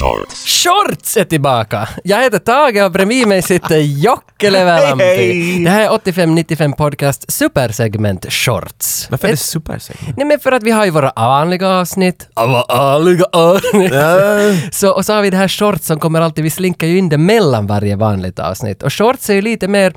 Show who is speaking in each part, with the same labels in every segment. Speaker 1: Shorts.
Speaker 2: Shorts är tillbaka! Jag heter Tage och bredvid mig sitter Jocke Levelampi.
Speaker 1: Hej, hej.
Speaker 2: Det här är 8595 Podcast supersegment Shorts.
Speaker 1: Varför är det
Speaker 2: Ett-
Speaker 1: supersegment?
Speaker 2: Nej men för att vi har ju våra vanliga avsnitt. Våra vanliga avsnitt. Så, och så har vi det här shorts som kommer alltid, vi slinkar ju in det mellan varje vanligt avsnitt. Och shorts är ju lite mer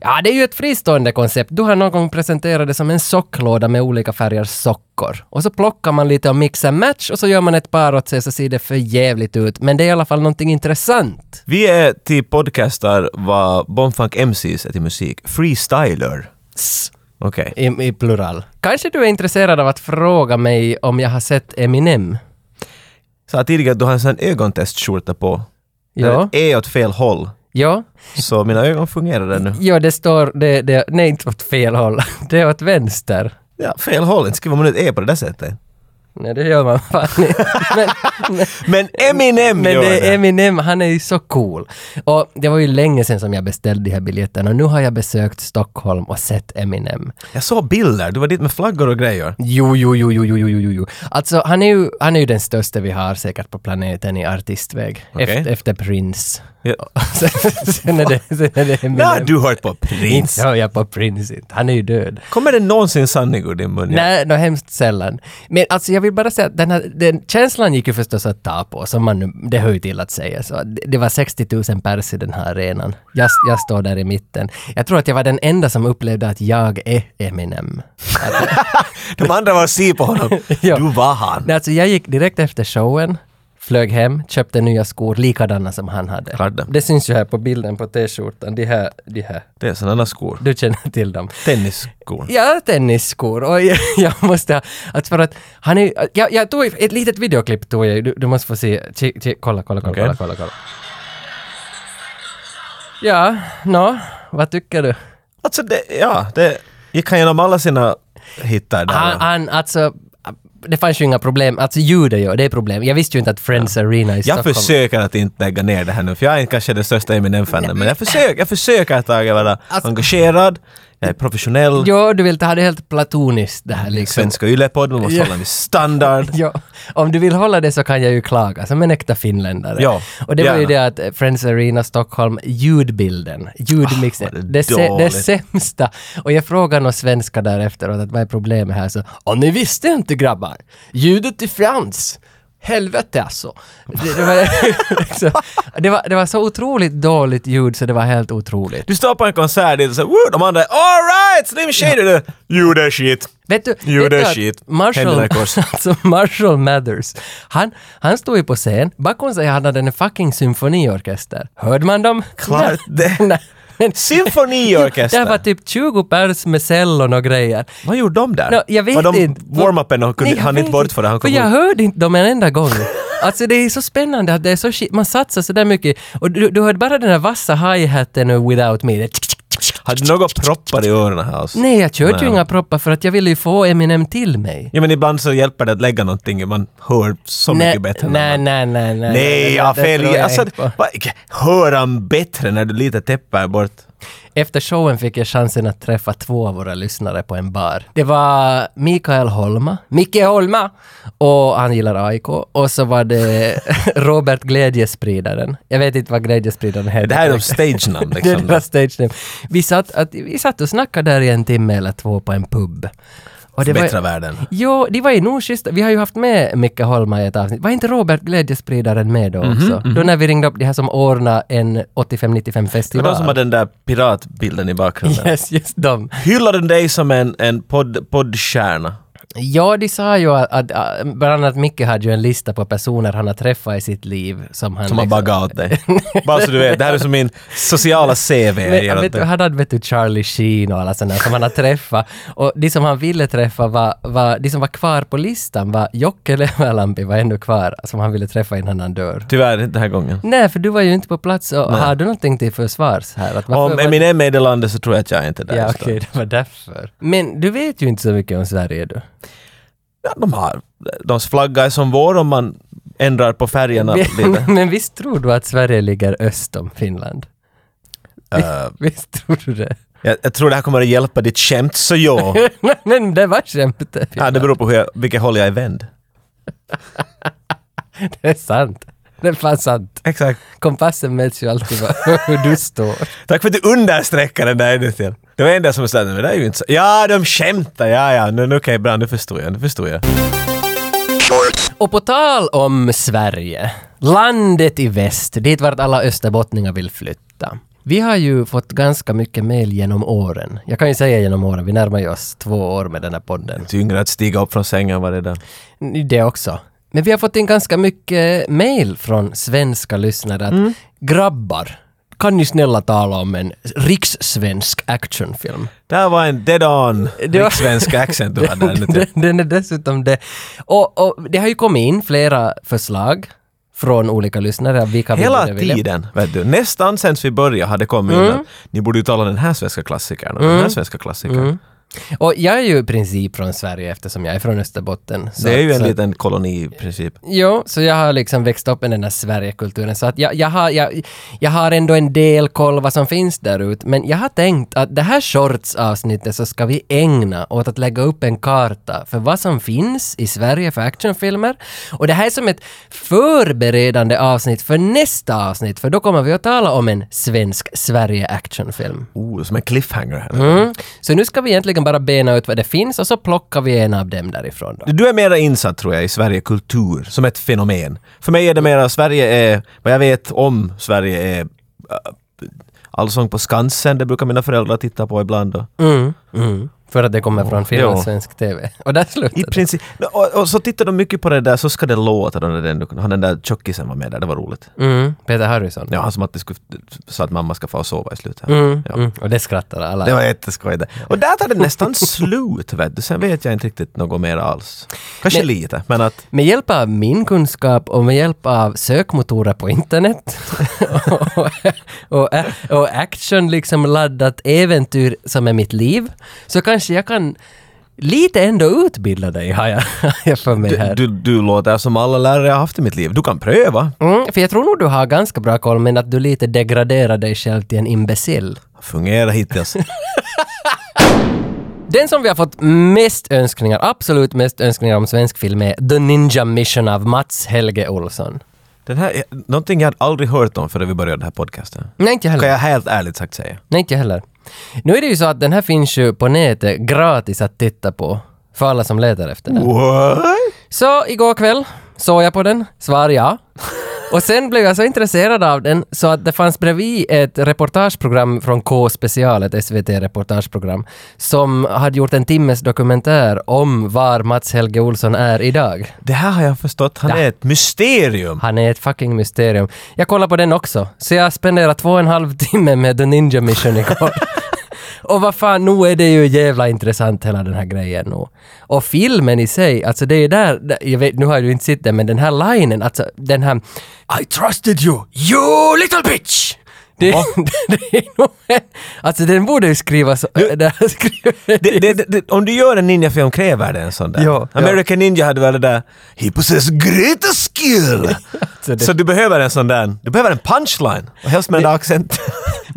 Speaker 2: Ja, det är ju ett fristående koncept. Du har någon gång presenterat det som en socklåda med olika färgers sockor. Och så plockar man lite och mixar match och så gör man ett par åt sig så ser det för jävligt ut. Men det är i alla fall någonting intressant.
Speaker 1: Vi är till podcastar vad Bonfunk MCs är till musik. Freestyler.
Speaker 2: S-
Speaker 1: Okej.
Speaker 2: I, I plural. Kanske du är intresserad av att fråga mig om jag har sett Eminem?
Speaker 1: Så att tidigare, du har en sån här ögontestskjorta på. Där
Speaker 2: Ja.
Speaker 1: det är E åt fel håll.
Speaker 2: Ja.
Speaker 1: Så mina ögon fungerar ännu.
Speaker 2: Ja, det står... Det, det, nej, inte åt fel håll. Det är åt vänster.
Speaker 1: Ja, fel håll. Inte skriver man ut E på det där sättet.
Speaker 2: Nej, det gör man fan inte. Men, men,
Speaker 1: Men Eminem
Speaker 2: men
Speaker 1: gör
Speaker 2: det
Speaker 1: det.
Speaker 2: är Eminem, han är ju så cool. Och det var ju länge sedan som jag beställde de här biljetterna och nu har jag besökt Stockholm och sett Eminem.
Speaker 1: Jag såg bilder. Du var dit med flaggor och grejer.
Speaker 2: Jo, jo, jo, jo, jo, jo, jo, jo, jo. Alltså, han är, ju, han är ju den största vi har säkert på planeten i artistväg.
Speaker 1: Okej.
Speaker 2: Efter, efter Prince.
Speaker 1: Ja.
Speaker 2: sen, sen, är det, sen är det Eminem.
Speaker 1: När du hört på Prince?
Speaker 2: Inte hör jag på Prince inte. Han är ju död.
Speaker 1: Kommer det någonsin sanning ur din mun?
Speaker 2: Nej, nå hemskt sällan. Men alltså jag vill bara säga att den, här, den känslan gick ju förstås att ta på, som man nu, det hör ju till att säga så. Det, det var 60 000 pers i den här arenan. Jag, jag står där i mitten. Jag tror att jag var den enda som upplevde att jag är Eminem.
Speaker 1: De andra var si på honom.
Speaker 2: Ja.
Speaker 1: Du var han.
Speaker 2: Nej, alltså jag gick direkt efter showen, flög hem, köpte nya skor, likadana som han hade.
Speaker 1: Klart det.
Speaker 2: Det syns ju här på bilden på t-skjortan, de här, de här.
Speaker 1: Det är sådana skor.
Speaker 2: Du känner till dem.
Speaker 1: Tennisskor.
Speaker 2: Ja, tennisskor. Och jag, jag måste ha... Att för att han är, jag, jag tog ett litet videoklipp, tog jag. Du, du måste få se. Ki, ki, kolla, kolla, kolla,
Speaker 1: Okej.
Speaker 2: kolla, kolla, kolla. Ja, nå, vad tycker du?
Speaker 1: Alltså det, ja, det gick han genom alla sina hittar där.
Speaker 2: Han, han, alltså, det fanns ju inga problem. Alltså ljudet ja, det är problem. Jag visste ju inte att Friends Arena i
Speaker 1: jag
Speaker 2: Stockholm...
Speaker 1: försöker att inte lägga ner det här nu, för jag är inte kanske den största Eminem-fanen, men jag försöker, jag försöker att Tage, vara
Speaker 2: Alltså-
Speaker 1: engagerad, jag är professionell,
Speaker 2: Ja, du vill ta det helt platoniskt det här liksom.
Speaker 1: svenska ylepodd, man måste
Speaker 2: Ja.
Speaker 1: hålla en viss standard.
Speaker 2: Ja, om du vill hålla det så kan jag ju klaga som en äkta finländare.
Speaker 1: Ja,
Speaker 2: och det var ju
Speaker 1: gärna.
Speaker 2: det att eh, Friends Arena Stockholm, ljudbilden, ljudmixen,
Speaker 1: Ah, vad
Speaker 2: det, se, det
Speaker 1: dåligt.
Speaker 2: sämsta. Och jag frågade någon svenska där efteråt att vad är problemet här? Så, och ni visste inte grabbar, ljudet i Frans. Helvete alltså. Det, det, var, liksom, det, var, det var så otroligt dåligt ljud så det var helt otroligt.
Speaker 1: Du står på en konsert dit och så woo, de andra alright, Slim Shady, du gjorde shit.
Speaker 2: Vet du,
Speaker 1: Jo,
Speaker 2: vet
Speaker 1: det är
Speaker 2: du att
Speaker 1: shit.
Speaker 2: Marshall,
Speaker 1: Händerna i kors.
Speaker 2: alltså Marshall Mathers, han, han stod ju på scen, bakom sig hade han en fucking symfoniorkester. Hörde man dem?
Speaker 1: Klart
Speaker 2: Nej,
Speaker 1: det.
Speaker 2: nej, men
Speaker 1: Symfoniorkester!
Speaker 2: det var typ 20 pers med cellon och grejer.
Speaker 1: Vad gjorde de där?
Speaker 2: Nå, jag vet
Speaker 1: var de
Speaker 2: inte.
Speaker 1: warm-upen och kunde,
Speaker 2: Nej, jag
Speaker 1: han
Speaker 2: vet
Speaker 1: inte bort för det? Han
Speaker 2: för
Speaker 1: kom
Speaker 2: jag
Speaker 1: ut.
Speaker 2: hörde inte dem en enda gång. Alltså det är så spännande att det är så shit, man satsar så där mycket. Och du, du hörde bara den där vassa hi-haten och Without Me. Det-
Speaker 1: Hade du några proppar i öronen här? Alltså?
Speaker 2: Nej, jag körde ju
Speaker 1: Nej.
Speaker 2: inga proppar för att jag ville ju få Eminem till mig.
Speaker 1: Ja men ibland så hjälper det att lägga någonting, man hör så mycket bättre. än
Speaker 2: Nej,
Speaker 1: annat.
Speaker 2: nej, nej, nej.
Speaker 1: Nej,
Speaker 2: Det-
Speaker 1: jag har
Speaker 2: det
Speaker 1: fel.
Speaker 2: tror jag
Speaker 1: Alltså,
Speaker 2: inte på.
Speaker 1: va, hör han bättre när du lite täpper bort?
Speaker 2: Efter showen fick jag chansen att träffa två av våra lyssnare på en bar. Det var Mikael Holma, Micke Holma, och han gillar AIK. Och så var det Robert Glädjespridaren. Jag vet inte vad Glädjespridaren heter.
Speaker 1: Det här är de stage-namn
Speaker 2: Det är
Speaker 1: liksom.
Speaker 2: deras stage name. Vi satt, att, vi satt och snackade där i en timme eller två på en pub. Och det
Speaker 1: Förbättra världen.
Speaker 2: Jo, det var ju nog schyssta. Vi har ju haft med Micke Holma i ett avsnitt. Var inte Robert Glädjespridaren med
Speaker 1: Mhm,
Speaker 2: då också? Då när vi ringde upp de här som ordnade en 85-95
Speaker 1: Det
Speaker 2: festival.
Speaker 1: var de som hade den där piratbilden i bakgrunden.
Speaker 2: Yes, just dem.
Speaker 1: Hyllar den dig som en, en podd, poddstjärna?
Speaker 2: Ja, de sa ju att, att äh, bland annat Micke hade ju en lista på personer han har träffat i sitt liv som han...
Speaker 1: Som
Speaker 2: liksom-
Speaker 1: har baggat åt dig. Bara så du vet, det här är som min sociala CV. jag ger
Speaker 2: Men,
Speaker 1: åt
Speaker 2: vet du,
Speaker 1: dig.
Speaker 2: han hade vet du, Charlie Sheen och alla sådana som han har träffat. Och de som han ville träffa var, var de som var kvar på listan var Jocke Levalampi var ändå kvar som han ville träffa innan han dör.
Speaker 1: Tyvärr inte den här gången.
Speaker 2: Nej, för du var ju inte på plats och har du någonting till försvars här? Att varför
Speaker 1: Om
Speaker 2: var-
Speaker 1: Eminem är i det landet så tror jag att jag är inte är där.
Speaker 2: Ja,
Speaker 1: just
Speaker 2: okej,
Speaker 1: då.
Speaker 2: det var därför. Men du vet ju inte så mycket om Sverige du.
Speaker 1: Ja, de har, deras flagga är som vår om man ändrar på färgerna lite.
Speaker 2: Men visst tror du att Sverige ligger öst om Finland?
Speaker 1: Eh,
Speaker 2: Visst tror du det?
Speaker 1: jag, jag tror det här kommer att hjälpa ditt skämt, så ja.
Speaker 2: Men det var skämtet.
Speaker 1: ja det beror på hur jag, vilket håll jag är vänd.
Speaker 2: Det är sant. Det är fan sant.
Speaker 1: Exakt.
Speaker 2: Kompassen mäts ju alltid på hur du står.
Speaker 1: Tack för att du understreckade den där ännu till. Det var en del som var sådär, "Nej, men det där är ju inte så. Ja, de skämtar, ja, ja. Nu, nu, okej, bra, nu förstår jag, nu förstår jag.
Speaker 2: Och på tal om Sverige, landet i väst, dit vart alla österbottningar vill flytta. Vi har ju fått ganska mycket mejl genom åren. Jag kan ju säga genom åren, vi närmar ju oss två år med den här podden.
Speaker 1: Tyngre att stiga upp från sängen var det där.
Speaker 2: Det också. Men vi har fått in ganska mycket mejl från svenska lyssnare att grabbar, kan ni snälla tala om en rikssvensk actionfilm?
Speaker 1: Där var en dead on
Speaker 2: Det var-
Speaker 1: svensk accent du hade. där nu till.
Speaker 2: den, den är dessutom det. Och, och det har ju kommit in flera förslag från olika lyssnare. av Vilka vi
Speaker 1: Hela
Speaker 2: borde vilja-
Speaker 1: tiden, vet du. Nästan sen vi började hade kommit in
Speaker 2: Mm.
Speaker 1: att ni borde ju tala den här svenska klassikern och den här svenska klassikern.
Speaker 2: Mm. Och jag är ju i princip från Sverige eftersom jag är från Österbotten. Så,
Speaker 1: Det är ju en
Speaker 2: så,
Speaker 1: liten koloni i princip.
Speaker 2: Jo, så jag har liksom växt upp med den här Sverigekulturen. Så att jag, jag, har, jag, jag har ändå en del koll vad som finns där ute. Men jag har tänkt att det här shorts-avsnittet så ska vi ägna åt att lägga upp en karta för vad som finns i Sverige för actionfilmer. Och det här är som ett förberedande avsnitt för nästa avsnitt. För då kommer vi att tala om en svensk Sverige-actionfilm.
Speaker 1: Oh, som en cliffhanger här.
Speaker 2: Mm. Så nu ska vi egentligen bara bena ut vad det finns och så plockar vi en av dem därifrån. Då.
Speaker 1: Du är mera insatt tror jag i Sverigekultur som ett fenomen. För mig är det mera Sverige är, vad jag vet om Sverige är äh, Allsång på Skansen, det brukar mina föräldrar titta på ibland. Och,
Speaker 2: Mm. Mm. För att det kommer från finlandssvensk TV. Och där
Speaker 1: i
Speaker 2: slutar det.
Speaker 1: princip, och, och så tittar de mycket på det där, så ska det låta. då när Den, han den där tjockisen var med där, det var roligt.
Speaker 2: Mm. Peter Harrison.
Speaker 1: Ja, han som alltid skulle, sa att mamma ska få sova i slutet.
Speaker 2: Mm.
Speaker 1: Ja.
Speaker 2: Mm. Och det skrattar alla.
Speaker 1: Det var jätteskoj det. Och där tar det nästan slut vet du. Sen vet jag inte riktigt något mer alls. Kanske
Speaker 2: Men-
Speaker 1: lite, men att...
Speaker 2: Med hjälp av min kunskap och med hjälp av sökmotorer på internet och, och, och action liksom laddat äventyr som är mitt liv så kanske jag kan lite ändå utbilda dig har jag, har jag för mig här.
Speaker 1: Du, du låter som alla lärare jag har haft i mitt liv. Du kan pröva.
Speaker 2: Mm, för jag tror nog du har ganska bra koll men att du lite degraderar dig själv till en imbecill.
Speaker 1: Fungerar hittills.
Speaker 2: Den som vi har fått mest önskningar, absolut mest önskningar om svensk film är The Ninja Mission av Mats Helge Olsson.
Speaker 1: Den här, eh, någonting jag hade aldrig hört om förrän vi började den här podcasten.
Speaker 2: Nej, inte jag heller.
Speaker 1: Kan jag helt ärligt sagt säga.
Speaker 2: Nej, inte jag heller. Nu är det ju så att den här finns ju på nätet gratis att titta på för alla som letar efter den.
Speaker 1: What?
Speaker 2: Så igår kväll såg jag på den, svar ja. Och sen blev jag så intresserad av den så att det fanns bredvid ett reportageprogram från K special, ett SVT-reportageprogram, som hade gjort en timmes dokumentär om var Mats Helge Olsson är idag.
Speaker 1: Det här har jag förstått. Han
Speaker 2: Ja.
Speaker 1: är ett mysterium.
Speaker 2: Han är ett fucking mysterium. Jag kollade på den också, så jag spenderade två och en halv timme med The Ninja Mission igår. och vad fan, nu är det ju jävla intressant hela den här grejen nu. Och filmen i sig, alltså det är där, där- jag vet, nu har du inte sett den, men den här linen, alltså den här I trusted you, you little bitch! Det, det är nog en, alltså den borde ju skrivas, det här skrivet.
Speaker 1: Det, det, det, det, om du gör en ninjafilm kräver det en sån där.
Speaker 2: Ja, ja.
Speaker 1: American Ninja hade väl det där “He possess great skill”.
Speaker 2: Alltså, det-
Speaker 1: Så du behöver en sån där, du behöver en punchline. Och helst med en accent.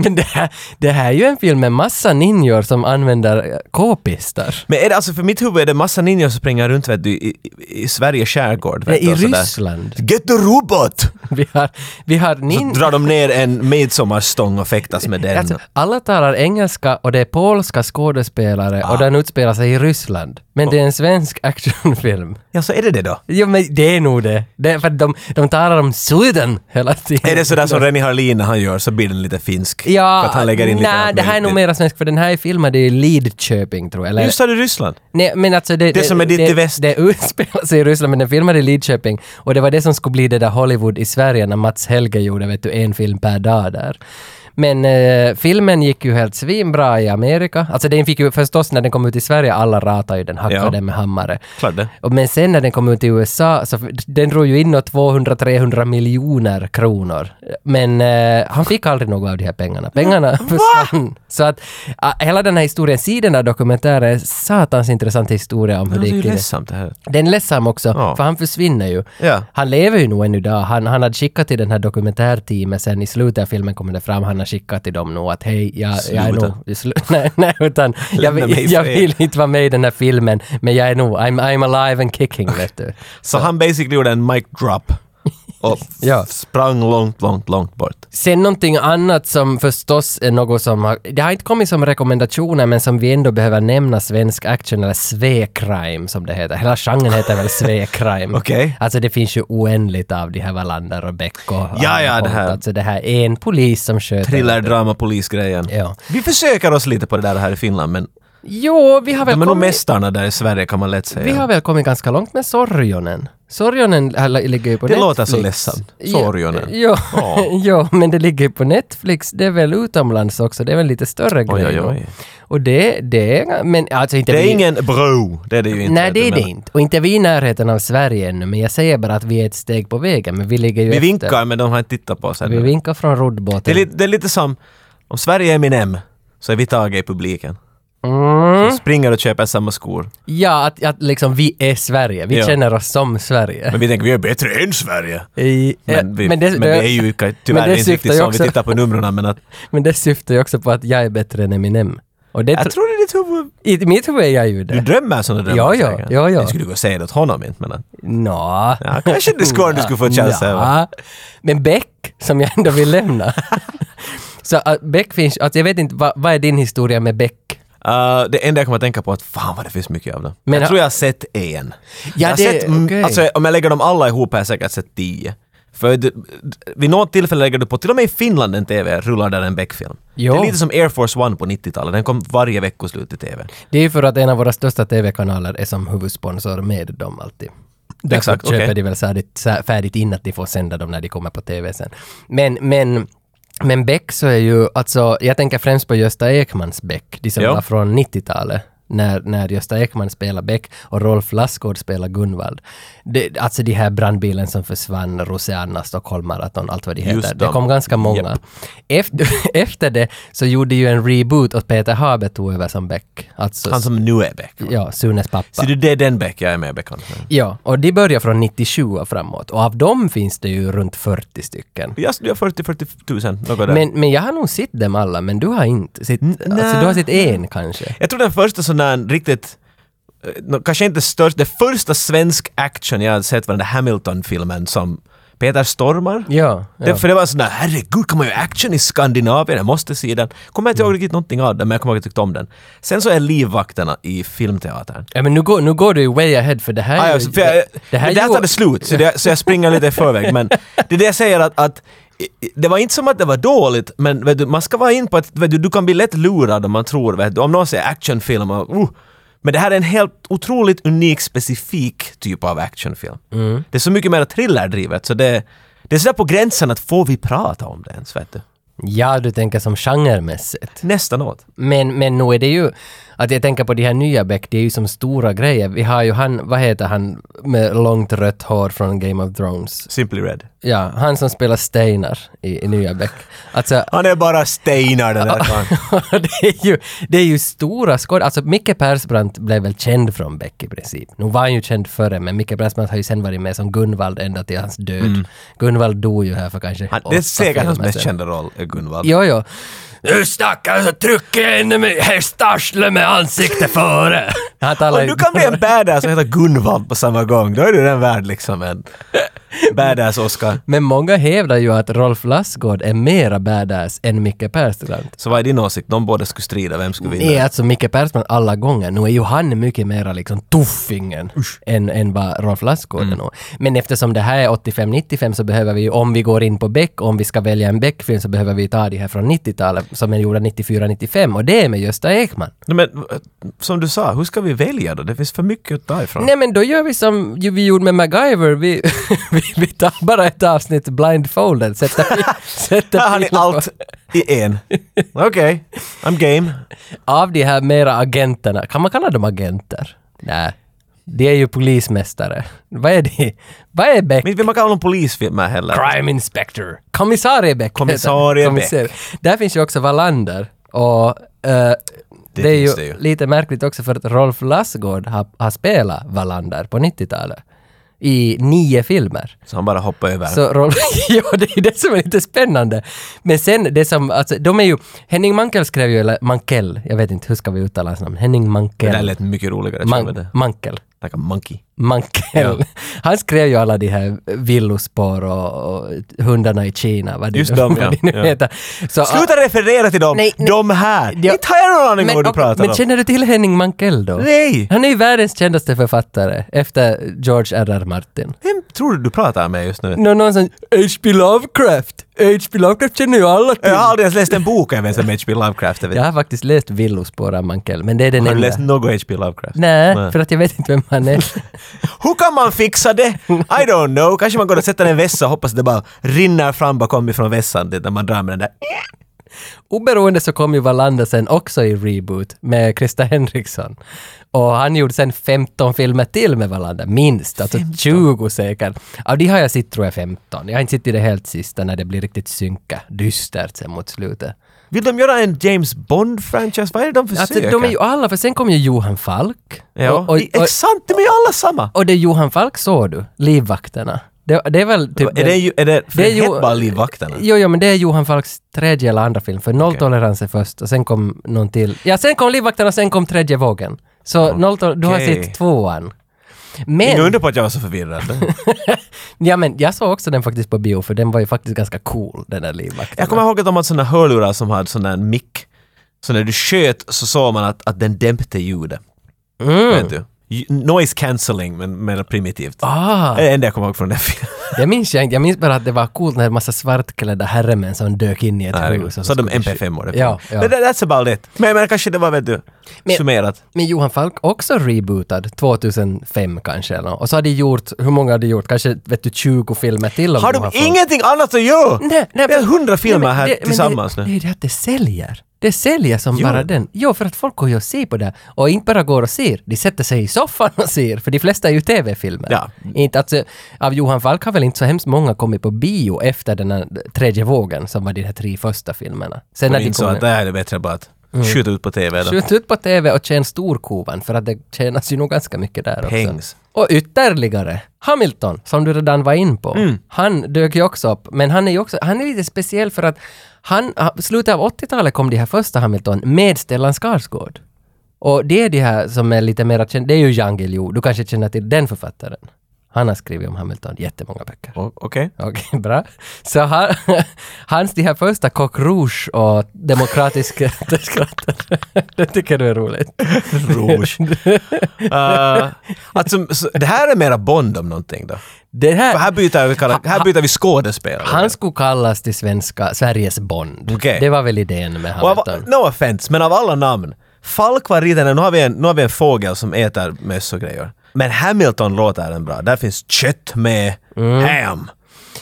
Speaker 2: Men det här, det här är ju en film med massa ninjor som använder eh, k-pistar.
Speaker 1: Men är det, alltså för mitt huvud är det massa ninjor som springer runt vet du, i, i, i Sveriges skärgård. Vet
Speaker 2: Nej,
Speaker 1: du,
Speaker 2: i
Speaker 1: och sådär.
Speaker 2: Ryssland.
Speaker 1: Get the robot!
Speaker 2: Vi har, vi har
Speaker 1: Så
Speaker 2: nin...
Speaker 1: drar de ner en midsommarstång och fäktas med den.
Speaker 2: Alltså, alla talar engelska och det är polska skådespelare
Speaker 1: Ah.
Speaker 2: och den utspelar sig i Ryssland. Men det är en svensk actionfilm.
Speaker 1: Ja, så är det det då?
Speaker 2: Jo men det är nog det. det är för att de, de talar om Sweden hela tiden.
Speaker 1: Är det sådär som Renny Harlin när han gör så blir den lite finsk?
Speaker 2: Ja,
Speaker 1: för att han lägger in lite
Speaker 2: nej,
Speaker 1: allt
Speaker 2: det här är nog
Speaker 1: möjligt.
Speaker 2: mera svensk för den här är filmad i Lidköping tror jag. Eller,
Speaker 1: Just sa du Ryssland?
Speaker 2: nej, men alltså det,
Speaker 1: Det som är ditt
Speaker 2: det,
Speaker 1: i väst.
Speaker 2: Det utspelar sig i Ryssland men den filmade i Lidköping och det var det som skulle bli det där Hollywood i Sverige när Mats Helge gjorde vet du, en film per dag där. Men eh, filmen gick ju helt svinbra i Amerika. Alltså den fick ju förstås när den kom ut i Sverige, alla ratade ju den, hackade
Speaker 1: Ja.
Speaker 2: den med hammare.
Speaker 1: Klart det.
Speaker 2: Och Men sen när den kom ut i USA, så f- den drog ju in nå 200-300 miljoner kronor. Men eh, han fick aldrig något av de här pengarna. Pengarna försvann. Så att ah, hela den här historien, sidan av dokumentären, är satans intressant historia om hur
Speaker 1: Det är
Speaker 2: det
Speaker 1: ju
Speaker 2: gick till.
Speaker 1: ledsamt det här.
Speaker 2: Den är ledsam också,
Speaker 1: Ja.
Speaker 2: för han försvinner ju.
Speaker 1: Ja.
Speaker 2: Han lever ju nog än idag. Han, han hade skickat till den här dokumentärteamet sen i slutet av filmen kommer det fram, han har skickat till dem nog att hej, jag, jag är
Speaker 1: Sluta.
Speaker 2: nog... Slu- nej, nej, utan jag,
Speaker 1: Lämna mig i
Speaker 2: vill- jag
Speaker 1: fred.
Speaker 2: vill inte vara med i den här filmen, men jag är nog, I'm, I'm alive and kicking, vet du.
Speaker 1: Så han basically gjorde en mic drop. och
Speaker 2: Ja.
Speaker 1: f- sprang långt, långt, långt bort.
Speaker 2: Sen någonting annat som förstås är något som har, det har inte kommit som rekommendationer men som vi ändå behöver nämna svensk action eller svekrime som det heter. Hela genren heter väl svekrime.
Speaker 1: Okej.
Speaker 2: Alltså det finns ju oändligt av de här Wallander och Beck och
Speaker 1: Ja, ja, det här-
Speaker 2: Alltså det här är en polis som sköter.
Speaker 1: Thriller, drama, polisgrejen.
Speaker 2: Ja.
Speaker 1: Vi försöker oss lite på det där här i Finland men
Speaker 2: Jo, vi har väl
Speaker 1: de är nog
Speaker 2: kommit...
Speaker 1: mästarna där i Sverige kan man lätt säga.
Speaker 2: Vi har väl kommit ganska långt med Sorjonen. Sorjonen här ligger ju på
Speaker 1: Det
Speaker 2: Netflix.
Speaker 1: låter så ledsamt. Sorjonen.
Speaker 2: Jo,
Speaker 1: Ja.
Speaker 2: jo, men det ligger ju på Netflix. Det är väl utomlands också. Det är väl lite större
Speaker 1: Oj,
Speaker 2: grej.
Speaker 1: oj,
Speaker 2: då.
Speaker 1: oj.
Speaker 2: Och det, det är... Men alltså inte
Speaker 1: Det
Speaker 2: vi,
Speaker 1: är ingen bro, det är det ju inte.
Speaker 2: Nej, det
Speaker 1: du
Speaker 2: är det
Speaker 1: menar.
Speaker 2: inte. Och inte vi i närheten av Sverige ännu. Men jag säger bara att vi är ett steg på vägen. Men vi ligger ju
Speaker 1: Vi
Speaker 2: efter.
Speaker 1: vinkar men de har inte tittat på oss
Speaker 2: Vi
Speaker 1: ännu.
Speaker 2: vinkar från roddbåten.
Speaker 1: Det är, lite, det är lite som, om Sverige är min M så är vi taget i publiken.
Speaker 2: mm.
Speaker 1: De springer och köper samma skor.
Speaker 2: Ja, att, att liksom vi är Sverige. Vi
Speaker 1: Ja.
Speaker 2: känner oss som Sverige.
Speaker 1: Men vi tänker vi är bättre än Sverige.
Speaker 2: I- eh,
Speaker 1: Men vi, men det, är ju ka-
Speaker 2: men
Speaker 1: tyvärr
Speaker 2: det
Speaker 1: inte
Speaker 2: syftar
Speaker 1: riktigt
Speaker 2: ju
Speaker 1: så om vi
Speaker 2: också-
Speaker 1: tittar på numren men att,
Speaker 2: Men det syftar ju också på att jag är bättre än Eminem. Och det
Speaker 1: jag
Speaker 2: tro-
Speaker 1: tror det är ditt huvud.
Speaker 2: I mitt huvud är jag ju
Speaker 1: Du
Speaker 2: det.
Speaker 1: drömmer sådana drömmar
Speaker 2: Ja, ja,
Speaker 1: säkert.
Speaker 2: ja, ja.
Speaker 1: Jag skulle gå och säga det åt honom inte men att,
Speaker 2: Nå.
Speaker 1: ja, kanske det skulle om du skulle få chansen. Ja.
Speaker 2: Ja. Men Beck, som jag ändå vill lämna. Så att Beck finns, alltså jag vet inte, vad, vad är din historia med Beck?
Speaker 1: uh, det enda jag kommer att tänka på är att fan vad det finns mycket av dem.
Speaker 2: Men- äh,
Speaker 1: jag tror jag har sett en.
Speaker 2: Ja,
Speaker 1: jag har
Speaker 2: det-
Speaker 1: sett, mm,
Speaker 2: okej.
Speaker 1: alltså, om jag lägger dem alla ihop har jag säkert sett tio. För du, vid något tillfälle lägger du på, till och med i Finland en TV rullar där en Beck-film.
Speaker 2: Jo.
Speaker 1: Det är lite som Air Force One på 90-talet, den kom varje veckoslut i TV.
Speaker 2: Det är ju för att en av våra största TV-kanaler är som huvudsponsor med dem alltid. Därför
Speaker 1: Exakt,
Speaker 2: köper
Speaker 1: okej.
Speaker 2: de väl färdigt, sä- färdigt in att de får sända dem när de kommer på TV sen. Men, men, men Beck så är ju, alltså jag tänker främst på Gösta Ekmans Beck, de som
Speaker 1: Ja.
Speaker 2: var från 90-talet. När, när Gösta Ekman spelar Beck och Rolf Lassgård spelar Gunvald. Det, alltså de här brandbilen som försvann, Roseanna, Stockholm Marathon, allt vad de
Speaker 1: Just
Speaker 2: heter. Det
Speaker 1: dem.
Speaker 2: kom ganska många. Efter, efter det så gjorde ju en reboot och Peter Haber tog över som Beck. Alltså,
Speaker 1: Han som nu är Beck.
Speaker 2: ja, Sunes pappa.
Speaker 1: Ser du, det är den Beck jag är mer bekant med.
Speaker 2: Ja, och de börjar från 97 och framåt. Och av dem finns det ju runt 40 stycken.
Speaker 1: Jag har 40-40 tusen, något där.
Speaker 2: Men, men jag har nog sett dem alla, men du har inte sett... Alltså
Speaker 1: nä.
Speaker 2: du har sett en kanske.
Speaker 1: Jag tror den första sån där riktigt eh, nå- Kanske inte störst, det första svensk action jag har sett var den där Hamilton-filmen som Peter stormar.
Speaker 2: Ja.
Speaker 1: Det,
Speaker 2: ja.
Speaker 1: för det var sån där, herregud, kommer ju action i Skandinavien, jag måste se den. Kommer inte ihåg riktigt någonting av den, men jag kommer ihåg att jag tyckte om den. Sen så är Livvakterna i filmteatern.
Speaker 2: ja men nu går, nu går du ju way ahead för det här...
Speaker 1: Ah,
Speaker 2: är
Speaker 1: ja,
Speaker 2: ju-
Speaker 1: så- för jag,
Speaker 2: det här
Speaker 1: det
Speaker 2: är
Speaker 1: där
Speaker 2: ju-
Speaker 1: tar det slut, så, det, så jag springer lite i förväg. Men det är det jag säger att, att i- det var inte som att det var dåligt, men vet du, man ska vara in på att vet du, du kan bli lätt lurad om man tror, vet du, om någon säger actionfilm och uh, men det här är en helt otroligt unik, specifik typ av actionfilm.
Speaker 2: Mm.
Speaker 1: Det är så mycket mer thrillerdrivet, så det, det är sådär på gränsen att får vi prata om det ens, vet du?
Speaker 2: Ja, du tänker som genremässigt.
Speaker 1: Nästan åt.
Speaker 2: Men, men nu är det ju, att jag tänker på de här nya Beck, det är ju som stora grejer. Vi har ju han, vad heter han med långt rött hår från Game of Thrones?
Speaker 1: Simply Red.
Speaker 2: Ja, han som spelar Steinar i, i nya Beck. Alltså,
Speaker 1: Han är bara Steinar den där karln.
Speaker 2: det, är ju, det är ju stora skådespelare. Alltså Micke Persbrandt blev väl känd från Beck i princip. Nu var han ju känd före, men Micke Persbrandt har ju sen varit med som Gunvald ända till hans död. Gunvald dog ju här för kanske
Speaker 1: Mm. Han- Det är
Speaker 2: åtta
Speaker 1: säkert hans
Speaker 2: filmer
Speaker 1: mest
Speaker 2: sedan.
Speaker 1: kända roll, eh, Gunvald.
Speaker 2: Jo, jo. Nu stackars så trycker jag in mig hästarsle med ansiktet före. Han talar
Speaker 1: Om du kan bli en badass och heta Gunvald på samma gång, då är du den värd liksom en badass-Oscar.
Speaker 2: Men många hävdar ju att Rolf Lassgård är mera badass än Micke Persbrandt.
Speaker 1: Så vad är din åsikt? De båda skulle strida, vem skulle vinna?
Speaker 2: Nej, alltså Micke Persbrandt alla gånger. Nu är ju han mycket mera liksom tuffingen än, än vad Rolf Lassgård
Speaker 1: Mm.
Speaker 2: är nog. Men eftersom det här är 85-95 så behöver vi ju, om vi går in på Beck, om vi ska välja en Beck-film så behöver vi ta det här från 90-talet som är gjorda 94-95 och det är med Gösta Ekman.
Speaker 1: Nej, men eh, som du sa, hur ska vi välja då? Det finns för mycket att ta ifrån.
Speaker 2: Nej men då gör vi som ju vi gjorde med MacGyver, vi, vi, vi tar bara ett avsnitt blindfolded, sätter, pi- sätter
Speaker 1: Här har ni
Speaker 2: pilen på-
Speaker 1: allt i en. Okej, I'm game.
Speaker 2: av de här mera agenterna, kan man kalla dem agenter? Nej. De är ju polismästare. Vad är de? Vad är Beck?
Speaker 1: Men inte vill man kalla dem polisfilmer heller.
Speaker 2: Crime Inspector. Kommissarie Beck. heter han.
Speaker 1: Kommissarie
Speaker 2: Där finns ju också Wallander. Och eh, det, är ju
Speaker 1: finns det ju.
Speaker 2: lite märkligt också för att Rolf Lassgård har, har spelat Wallander på 90-talet. I nio filmer.
Speaker 1: Så han bara hoppar över.
Speaker 2: Så Rolf, ja det är det som är lite spännande. Men sen det som, alltså de är ju, Henning Mankell skrev ju, eller Mankell, jag vet inte hur ska vi uttala hans namn, Henning
Speaker 1: det där
Speaker 2: Mankell.
Speaker 1: lät mycket roligare. tror jag,
Speaker 2: Man,
Speaker 1: med det.
Speaker 2: Mankell.
Speaker 1: like a monkey.
Speaker 2: Mankell. Han skrev ju alla de här villospår och, och hundarna i Kina. Vad det,
Speaker 1: Just dem,
Speaker 2: vad
Speaker 1: ja.
Speaker 2: det nu
Speaker 1: Ja.
Speaker 2: heter. Så,
Speaker 1: Sluta referera till dem!
Speaker 2: Nej, nej.
Speaker 1: de här!
Speaker 2: Ja.
Speaker 1: Inte har jag någon aning om
Speaker 2: men,
Speaker 1: vad du
Speaker 2: och-
Speaker 1: pratar
Speaker 2: men
Speaker 1: om.
Speaker 2: känner du till Henning Mankell då?
Speaker 1: Nej!
Speaker 2: Han är ju världens kändaste författare efter George R.R. Martin.
Speaker 1: Vem tror du du pratar med just nu?
Speaker 2: Nå- Någon som H.P. Lovecraft. H.P. Lovecraft känner ju alla till.
Speaker 1: Jag har aldrig ens läst en bok även som H.P. Lovecraft. Jag vet.
Speaker 2: Jag har faktiskt läst Villospår av Mankell, men det är den
Speaker 1: Har du
Speaker 2: enda.
Speaker 1: läst något H.P. Lovecraft?
Speaker 2: Nej, för att jag vet inte vem han är.
Speaker 1: Hur kan man fixa det? I don't know. Kanske man går och sätter en vässa och hoppas att det bara rinner fram bakom ifrån vässan det- när man drar med den där.
Speaker 2: Oberoende så kom ju Wallander sen också i reboot med Krista Henriksson. Och han gjorde sen 15 filmer till med Wallander, minst. Alltså 20 säkert. Av de har jag sett tror jag 15. Jag har inte sett i det helt sista när det blir riktigt synka, dystert sen mot slutet.
Speaker 1: Vill de göra en James Bond-franchise? Vad är det de
Speaker 2: Alltså
Speaker 1: försöker?
Speaker 2: de är ju alla, för sen kom ju Johan Falk.
Speaker 1: Ja,
Speaker 2: Och, och, och,
Speaker 1: exakt, de är ju alla samma!
Speaker 2: och det Johan Falk såg du, Livvakterna. Det, det är väl typ...
Speaker 1: är, det, ju- är det, för
Speaker 2: det är
Speaker 1: det
Speaker 2: ju-
Speaker 1: hette bara Livvakterna?
Speaker 2: Jo, jo, men det är Johan Falks tredje eller andra film, för Nolltolerans är först och sen kom någon till. Ja, sen kom Livvakterna och sen kom Tredje vågen. Så nolltol- du har
Speaker 1: Okej.
Speaker 2: sett tvåan.
Speaker 1: Ingen
Speaker 2: Men,
Speaker 1: undrar på att jag var så förvirrad.
Speaker 2: ja, men jag såg också den faktiskt på bio, för den var ju faktiskt ganska cool, den där Livvakterna.
Speaker 1: Jag kommer ihåg att de hade såna hörlurar som hade sån där mick. Så när du sköt så såg man att, att den dämpte ljudet.
Speaker 2: Mm.
Speaker 1: Vet du? Ju- Noise cancelling, men mer primitivt.
Speaker 2: Ah,
Speaker 1: Det är det enda jag kommer ihåg från den filmen.
Speaker 2: det minns jag inte. Jag minns bara att det var coolt när en massa svartklädda herremän som dök in i ett hus. och
Speaker 1: Herregud. Så hade de
Speaker 2: skulle skjuta.
Speaker 1: MP5 år.
Speaker 2: Ja, ja.
Speaker 1: That's about it. Men, men kanske det var, vet du,
Speaker 2: Men-
Speaker 1: summerat.
Speaker 2: Men Johan Falk också rebootad 2005 kanske eller nåt. Och så har de gjort, hur många har de gjort? Kanske vet du 20 filmer till om
Speaker 1: Har
Speaker 2: Johan
Speaker 1: de
Speaker 2: Falk.
Speaker 1: ingenting annat att göra?
Speaker 2: Nej, nej,
Speaker 1: Vi har
Speaker 2: men-
Speaker 1: hundra filmer
Speaker 2: nej, men
Speaker 1: här
Speaker 2: det- men
Speaker 1: tillsammans
Speaker 2: det,
Speaker 1: nu.
Speaker 2: Det är det att det säljer. Det säljer som
Speaker 1: Gör
Speaker 2: bara
Speaker 1: det?
Speaker 2: den. Jo, för att folk går ju och ser på det. Och inte bara går och ser, de sätter sig i soffan och ser. För de flesta är ju TV-filmer.
Speaker 1: Ja.
Speaker 2: Inte, alltså, av Johan Falk har väl inte så hemskt många kommit på bio efter den här tredje vågen som var de här tre första filmerna. Sen
Speaker 1: De
Speaker 2: när de
Speaker 1: insåg
Speaker 2: kom
Speaker 1: att det här är bättre bara att
Speaker 2: Mm.
Speaker 1: skjuta ut på TV. Då.
Speaker 2: Skjut ut på TV och tjän storkovan för att det tjänas ju nog ganska mycket där också.
Speaker 1: Pengs.
Speaker 2: Och ytterligare, Hamilton, som du redan var in på, han dök ju också upp, men han är ju också, han är lite speciell för att han, ha- slutet av 80-talet kom de här första Hamilton med Stellan Skarsgård. Och det är de här som är lite mer kända, det är ju Jan Guillou, du kanske känner till den författaren. Han har skrivit om Hamilton jättemånga böcker.
Speaker 1: O- Okej.
Speaker 2: Okej, bra. Så han, hans de här första Coq Rouge och Demokratisk det skrattar. Det tycker du är roligt.
Speaker 1: Rouge. Eh, alltså, så, det här är mera Bond om någonting då?
Speaker 2: Det här,
Speaker 1: För här byter vi, karak- här byter vi skådespelare.
Speaker 2: han skulle kallas till svenska Sveriges Bond.
Speaker 1: Okej.
Speaker 2: Det var väl idén med
Speaker 1: Och av,
Speaker 2: Hamilton.
Speaker 1: no offense, men av alla namn. Falk var riten, nu, har vi en- nu har vi en fågel som äter möss och grejer. Men Hamilton låter den bra. Där finns kött med ham.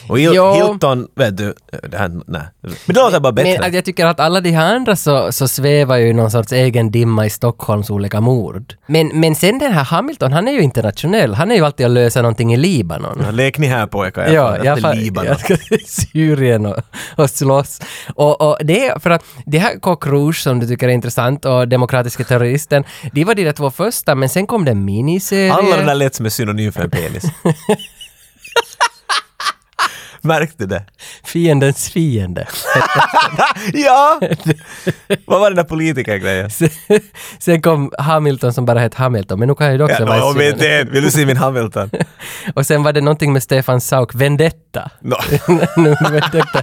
Speaker 1: Och Il-
Speaker 2: Mm. Jo.
Speaker 1: Hilton, vet du, det här, nej. Men det låter bara bättre.
Speaker 2: Men att jag tycker att alla de här andra så, så svävar ju i någon sorts egen dimma i Stockholms olika mord. Men, men sen den här Hamilton, han är ju internationell. Han är ju alltid att lösa någonting i Libanon.
Speaker 1: Lek ni här pojkar, jag
Speaker 2: Ja,
Speaker 1: ja,
Speaker 2: jag
Speaker 1: efter
Speaker 2: fall,
Speaker 1: Libanon.
Speaker 2: Jag ska till Syrien och, och slåss. Och, och det är för att det här Coq Rouge som du tycker är intressant och Demokratiska terroristen, de var de där två första men sen kom det en miniserie.
Speaker 1: Alla de där lät som en synonym för en penis. Märkte det?
Speaker 2: Fiendens fiende.
Speaker 1: ja! Vad var den där politikergrejen?
Speaker 2: Sen- sen kom Hamilton som bara hette Hamilton, men nu kan jag ju också vara i
Speaker 1: Ja, no,
Speaker 2: Syrien.
Speaker 1: men det, vill du se min Hamilton?
Speaker 2: Och sen var det någonting med Stefan Sauk, Vendetta.
Speaker 1: No.
Speaker 2: nu vet jag inte.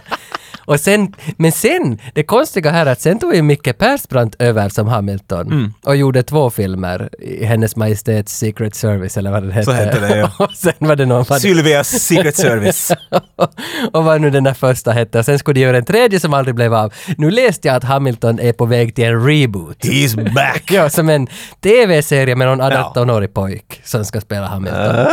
Speaker 2: Och sen, men sen, det konstiga här är att sen tog ju Micke Persbrandt över som Hamilton
Speaker 1: Mm.
Speaker 2: och gjorde två filmer, i Hennes Majestäts Secret Service eller vad den hette.
Speaker 1: Så hette det, ja.
Speaker 2: och sen var det någon vad-
Speaker 1: Sylvias Secret Service.
Speaker 2: och vad nu den där första hette. Och sen skulle de göra en tredje som aldrig blev av. Nu läste jag att Hamilton är på väg till en reboot.
Speaker 1: He's back!
Speaker 2: Ja, som en TV-serie med någon
Speaker 1: Ja.
Speaker 2: 18-årig pojk som ska spela Hamilton.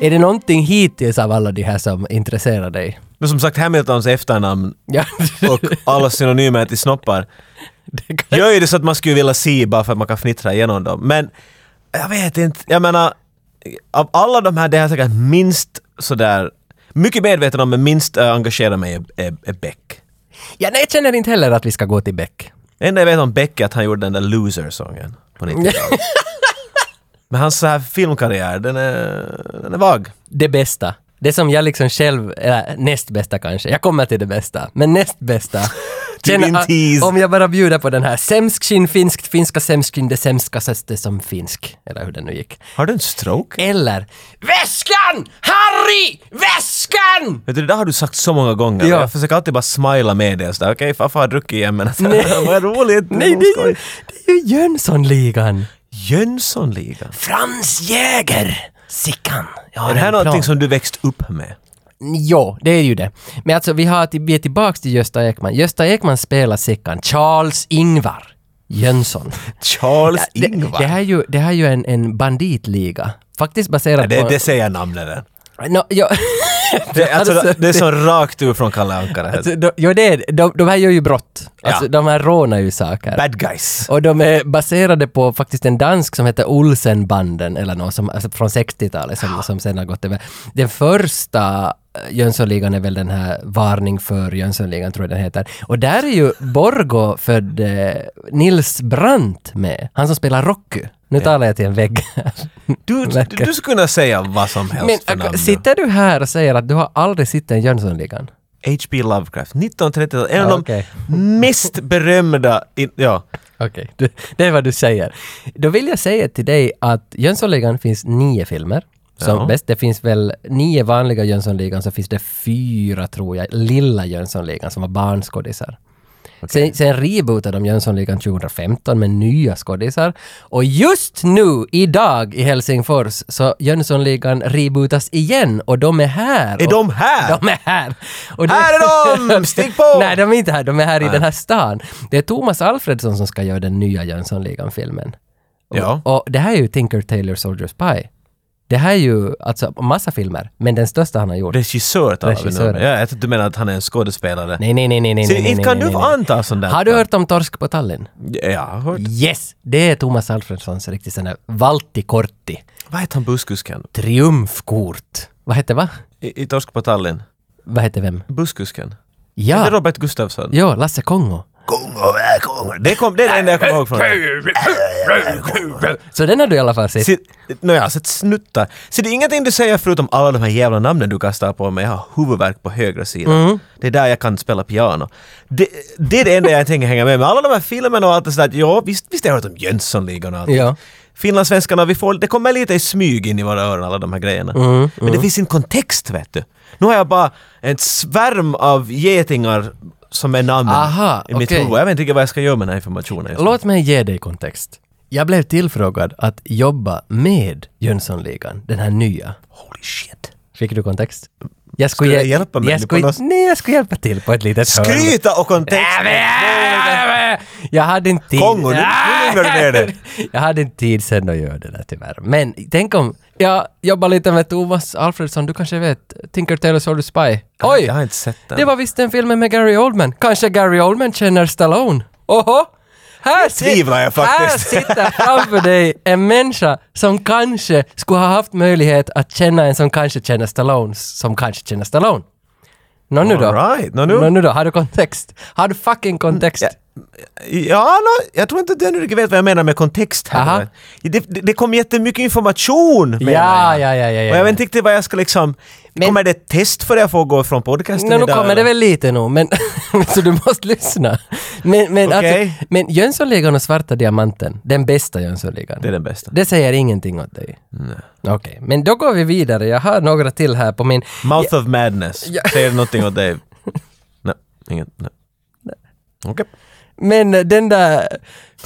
Speaker 2: Är det någonting hittills av alla de här som intresserar dig?
Speaker 1: Men som sagt, Hamiltons efternamn
Speaker 2: Ja,
Speaker 1: och alla synonymer till snoppar
Speaker 2: det kan...
Speaker 1: gör ju det så att man skulle vilja se bara för att man kan fnittra igenom dem. Men jag vet inte, jag menar, av alla de här, det här är säkert minst sådär, mycket medveten om men minst eh, engagerar mig är, är, är Beck.
Speaker 2: ja, nej, jag känner inte heller att vi ska gå till Beck.
Speaker 1: Det enda jag vet om Beck är att han gjorde den där Loser-sången på 90-talet. men hans så här filmkarriär, den är, den är vag.
Speaker 2: Det bästa. Det som jag liksom själv, eller näst bästa kanske, jag kommer till det bästa, men näst bästa
Speaker 1: Till din
Speaker 2: ah,
Speaker 1: tease.
Speaker 2: om jag bara bjuder på den här. Sämskin finskt, finska sämskin, det sämskaste som finsk. Eller hur den nu gick.
Speaker 1: Har du en stroke?
Speaker 2: Eller Väskan! Harry! Väskan!
Speaker 1: Vet du, det där har du sagt så många gånger.
Speaker 2: Ja.
Speaker 1: Jag försöker alltid bara smila med det och sådär. Okej, farfar har druckit igen men...
Speaker 2: Nej.
Speaker 1: Vad roligt!
Speaker 2: Nej, det är ju, det är ju Jönssonligan.
Speaker 1: Jönssonligan.
Speaker 2: Frans Jäger! Sickan. Jag har
Speaker 1: Är det här
Speaker 2: en plan.
Speaker 1: någonting som du växt upp med?
Speaker 2: Jo, det är ju det. Men alltså vi, har, till- vi är tillbaks till Gösta Ekman. Gösta Ekman spelar Sickan. Charles Ingvar Jönsson.
Speaker 1: Charles
Speaker 2: Det,
Speaker 1: Ingvar?
Speaker 2: det här är ju, det här är ju en, en banditliga. Faktiskt baserat
Speaker 1: det,
Speaker 2: på...
Speaker 1: det säger namnet där.
Speaker 2: No, jo,
Speaker 1: Det, alltså,
Speaker 2: Alltså,
Speaker 1: det är så rakt ur från Kalle Anka det här.
Speaker 2: alltså, de, jo, det är, de, de här gör ju brott. Alltså,
Speaker 1: Ja.
Speaker 2: De här rånar ju saker.
Speaker 1: Bad guys.
Speaker 2: Och de är baserade på faktiskt en dansk som heter Olsenbanden eller något som, alltså från 60-talet som, som sen har gått över. Den första eh, Jönssonligan är väl den här Varning för Jönssonligan tror jag den heter. Och där är ju Borgo född eh, Nils Brandt med, han som spelar Rocky. Nu talar jag till en vägg.
Speaker 1: Du, du, du skulle kunna säga vad som
Speaker 2: Men
Speaker 1: helst för namn.
Speaker 2: äh, sitter du här och säger att du har aldrig sett en Jönssonligan?
Speaker 1: H.P. Lovecraft, 1930-talet. En
Speaker 2: Ja,
Speaker 1: av
Speaker 2: okej.
Speaker 1: de mest berömda... i- ja.
Speaker 2: Okej, det- det är vad du säger. Då vill jag säga till dig att Jönssonligan finns nio filmer. Som
Speaker 1: Ja.
Speaker 2: bäst. Det finns väl nio vanliga Jönssonligan, så finns det fyra, tror jag, lilla Jönssonligan som var barnskådisar. Sen, sen rebootade de Jönssonligan 2015 med nya skådisar. Och just nu, idag, i Helsingfors, så Jönssonligan rebootas igen och de är här.
Speaker 1: Är
Speaker 2: och,
Speaker 1: de här?
Speaker 2: De är här! Och det-
Speaker 1: Här är de! Stick på!
Speaker 2: Nej, de är inte här. De är här i den här stan. Det är Thomas Alfredsson som ska göra den nya Jönssonligan-filmen.
Speaker 1: Ja.
Speaker 2: Och det här är ju Tinker Tailor Soldier Spy. Det här är ju alltså massa filmer, men den största han har gjort.
Speaker 1: Regissör talar vi nu
Speaker 2: Regissör.
Speaker 1: om. Ja, jag tror du menar att han är en skådespelare.
Speaker 2: Nej, nej, nej, nej, nej,
Speaker 1: Så
Speaker 2: nej, nej,
Speaker 1: inte kan
Speaker 2: nej,
Speaker 1: du
Speaker 2: nej.
Speaker 1: få anta sånt där?
Speaker 2: Har du hört om Torsk på Tallinn?
Speaker 1: Ja, jag har hört.
Speaker 2: Yes! Det är Thomas Alfredssons riktigt sån där Valtti Kortti.
Speaker 1: Vad heter han busskusken?
Speaker 2: Triumfkort. Vad hette va?
Speaker 1: I, i Torsk på Tallinn?
Speaker 2: Vad hette vem?
Speaker 1: Busskusken? Det är
Speaker 2: Ja,
Speaker 1: Robert Gustafsson.
Speaker 2: ja Lasse Kongo.
Speaker 1: Kongo, äh, Kongo. Det, kom, det är det enda jag kommer ihåg från det.
Speaker 2: Så den har du i alla fall sett.
Speaker 1: Se- Nå, jag har sett snuttar. Så det är ingenting du säger förutom alla de här jävla namnen du kastar på mig. Jag har huvudvärk på högra sidan.
Speaker 2: Mm.
Speaker 1: Det är där jag kan spela piano. Det, det är det enda jag tänker hänga med med. Alla de här filmerna och allt det sådär. Ja, visst, visst har jag hört om Jönssonligan och allt.
Speaker 2: Ja.
Speaker 1: Finlandssvenskarna, vi får, det kommer lite i smyg in i våra öron alla de här grejerna.
Speaker 2: Mm,
Speaker 1: Men det finns en kontext vet du. Nu har jag bara en svärm av getingar som är namnen
Speaker 2: Aha,
Speaker 1: i mitt
Speaker 2: okej.
Speaker 1: huvud. Jag vet inte riktigt vad jag ska göra med den här informationen. just nu.
Speaker 2: Låt mig ge dig kontext. Jag blev tillfrågad att jobba med Jönssonligan, den här nya.
Speaker 1: Holy shit.
Speaker 2: Fick du kontext? Jag
Speaker 1: Skulle jag hjälpa mig
Speaker 2: jag
Speaker 1: nu
Speaker 2: skulle,
Speaker 1: på något-
Speaker 2: Nej, jag skulle hjälpa till på ett litet hörn.
Speaker 1: Skryta och kontext!
Speaker 2: Nej, men- nej, men- Jag hade inte tid.
Speaker 1: Kongo, nu- nu
Speaker 2: Nej.
Speaker 1: lugnar du ner dig.
Speaker 2: Jag hade inte tid sen att göra det där tyvärr. Men tänk om jag jobbar lite med Thomas Alfredsson, du kanske vet? Tinker Tailor Soldier Spy. Oj!
Speaker 1: Jag har inte sett den.
Speaker 2: Det var visst den filmen med Gary Oldman. Kanske Gary Oldman känner Stallone? Oho! Här, sit-
Speaker 1: tvivlar jag faktiskt.
Speaker 2: här sitter framför dig en människa som kanske skulle ha haft möjlighet att känna en som kanske känner Stallone, som kanske känner Stallone. Nå nu då.
Speaker 1: All right, nå nu.
Speaker 2: Nå nu då. Har du kontext? Har du fucking kontext?
Speaker 1: Ja, nå, jag tror inte att du riktigt vet vad jag menar med kontext
Speaker 2: Aha.
Speaker 1: här. Det, det, det kom jättemycket information menar
Speaker 2: Ja,
Speaker 1: jag.
Speaker 2: ja, ja, ja, ja.
Speaker 1: Och jag vet inte riktigt vad jag ska liksom...
Speaker 2: Men-
Speaker 1: Kommer det ett test för jag får gå från podcasten
Speaker 2: Nå, nu
Speaker 1: idag,
Speaker 2: kommer det
Speaker 1: eller?
Speaker 2: väl lite nog, men så du måste lyssna. Men, men,
Speaker 1: Okej.
Speaker 2: alltså, men Jönssonligan och Svarta Diamanten, den bästa Jönssonligan.
Speaker 1: Det är den bästa.
Speaker 2: Det säger ingenting åt dig? Nej. Okej, men då går vi vidare. Jag har några till här på min...
Speaker 1: Mouth of Madness. Säger det någonting åt dig? Nej, inget. Nej. Okej.
Speaker 2: Men eh, den där...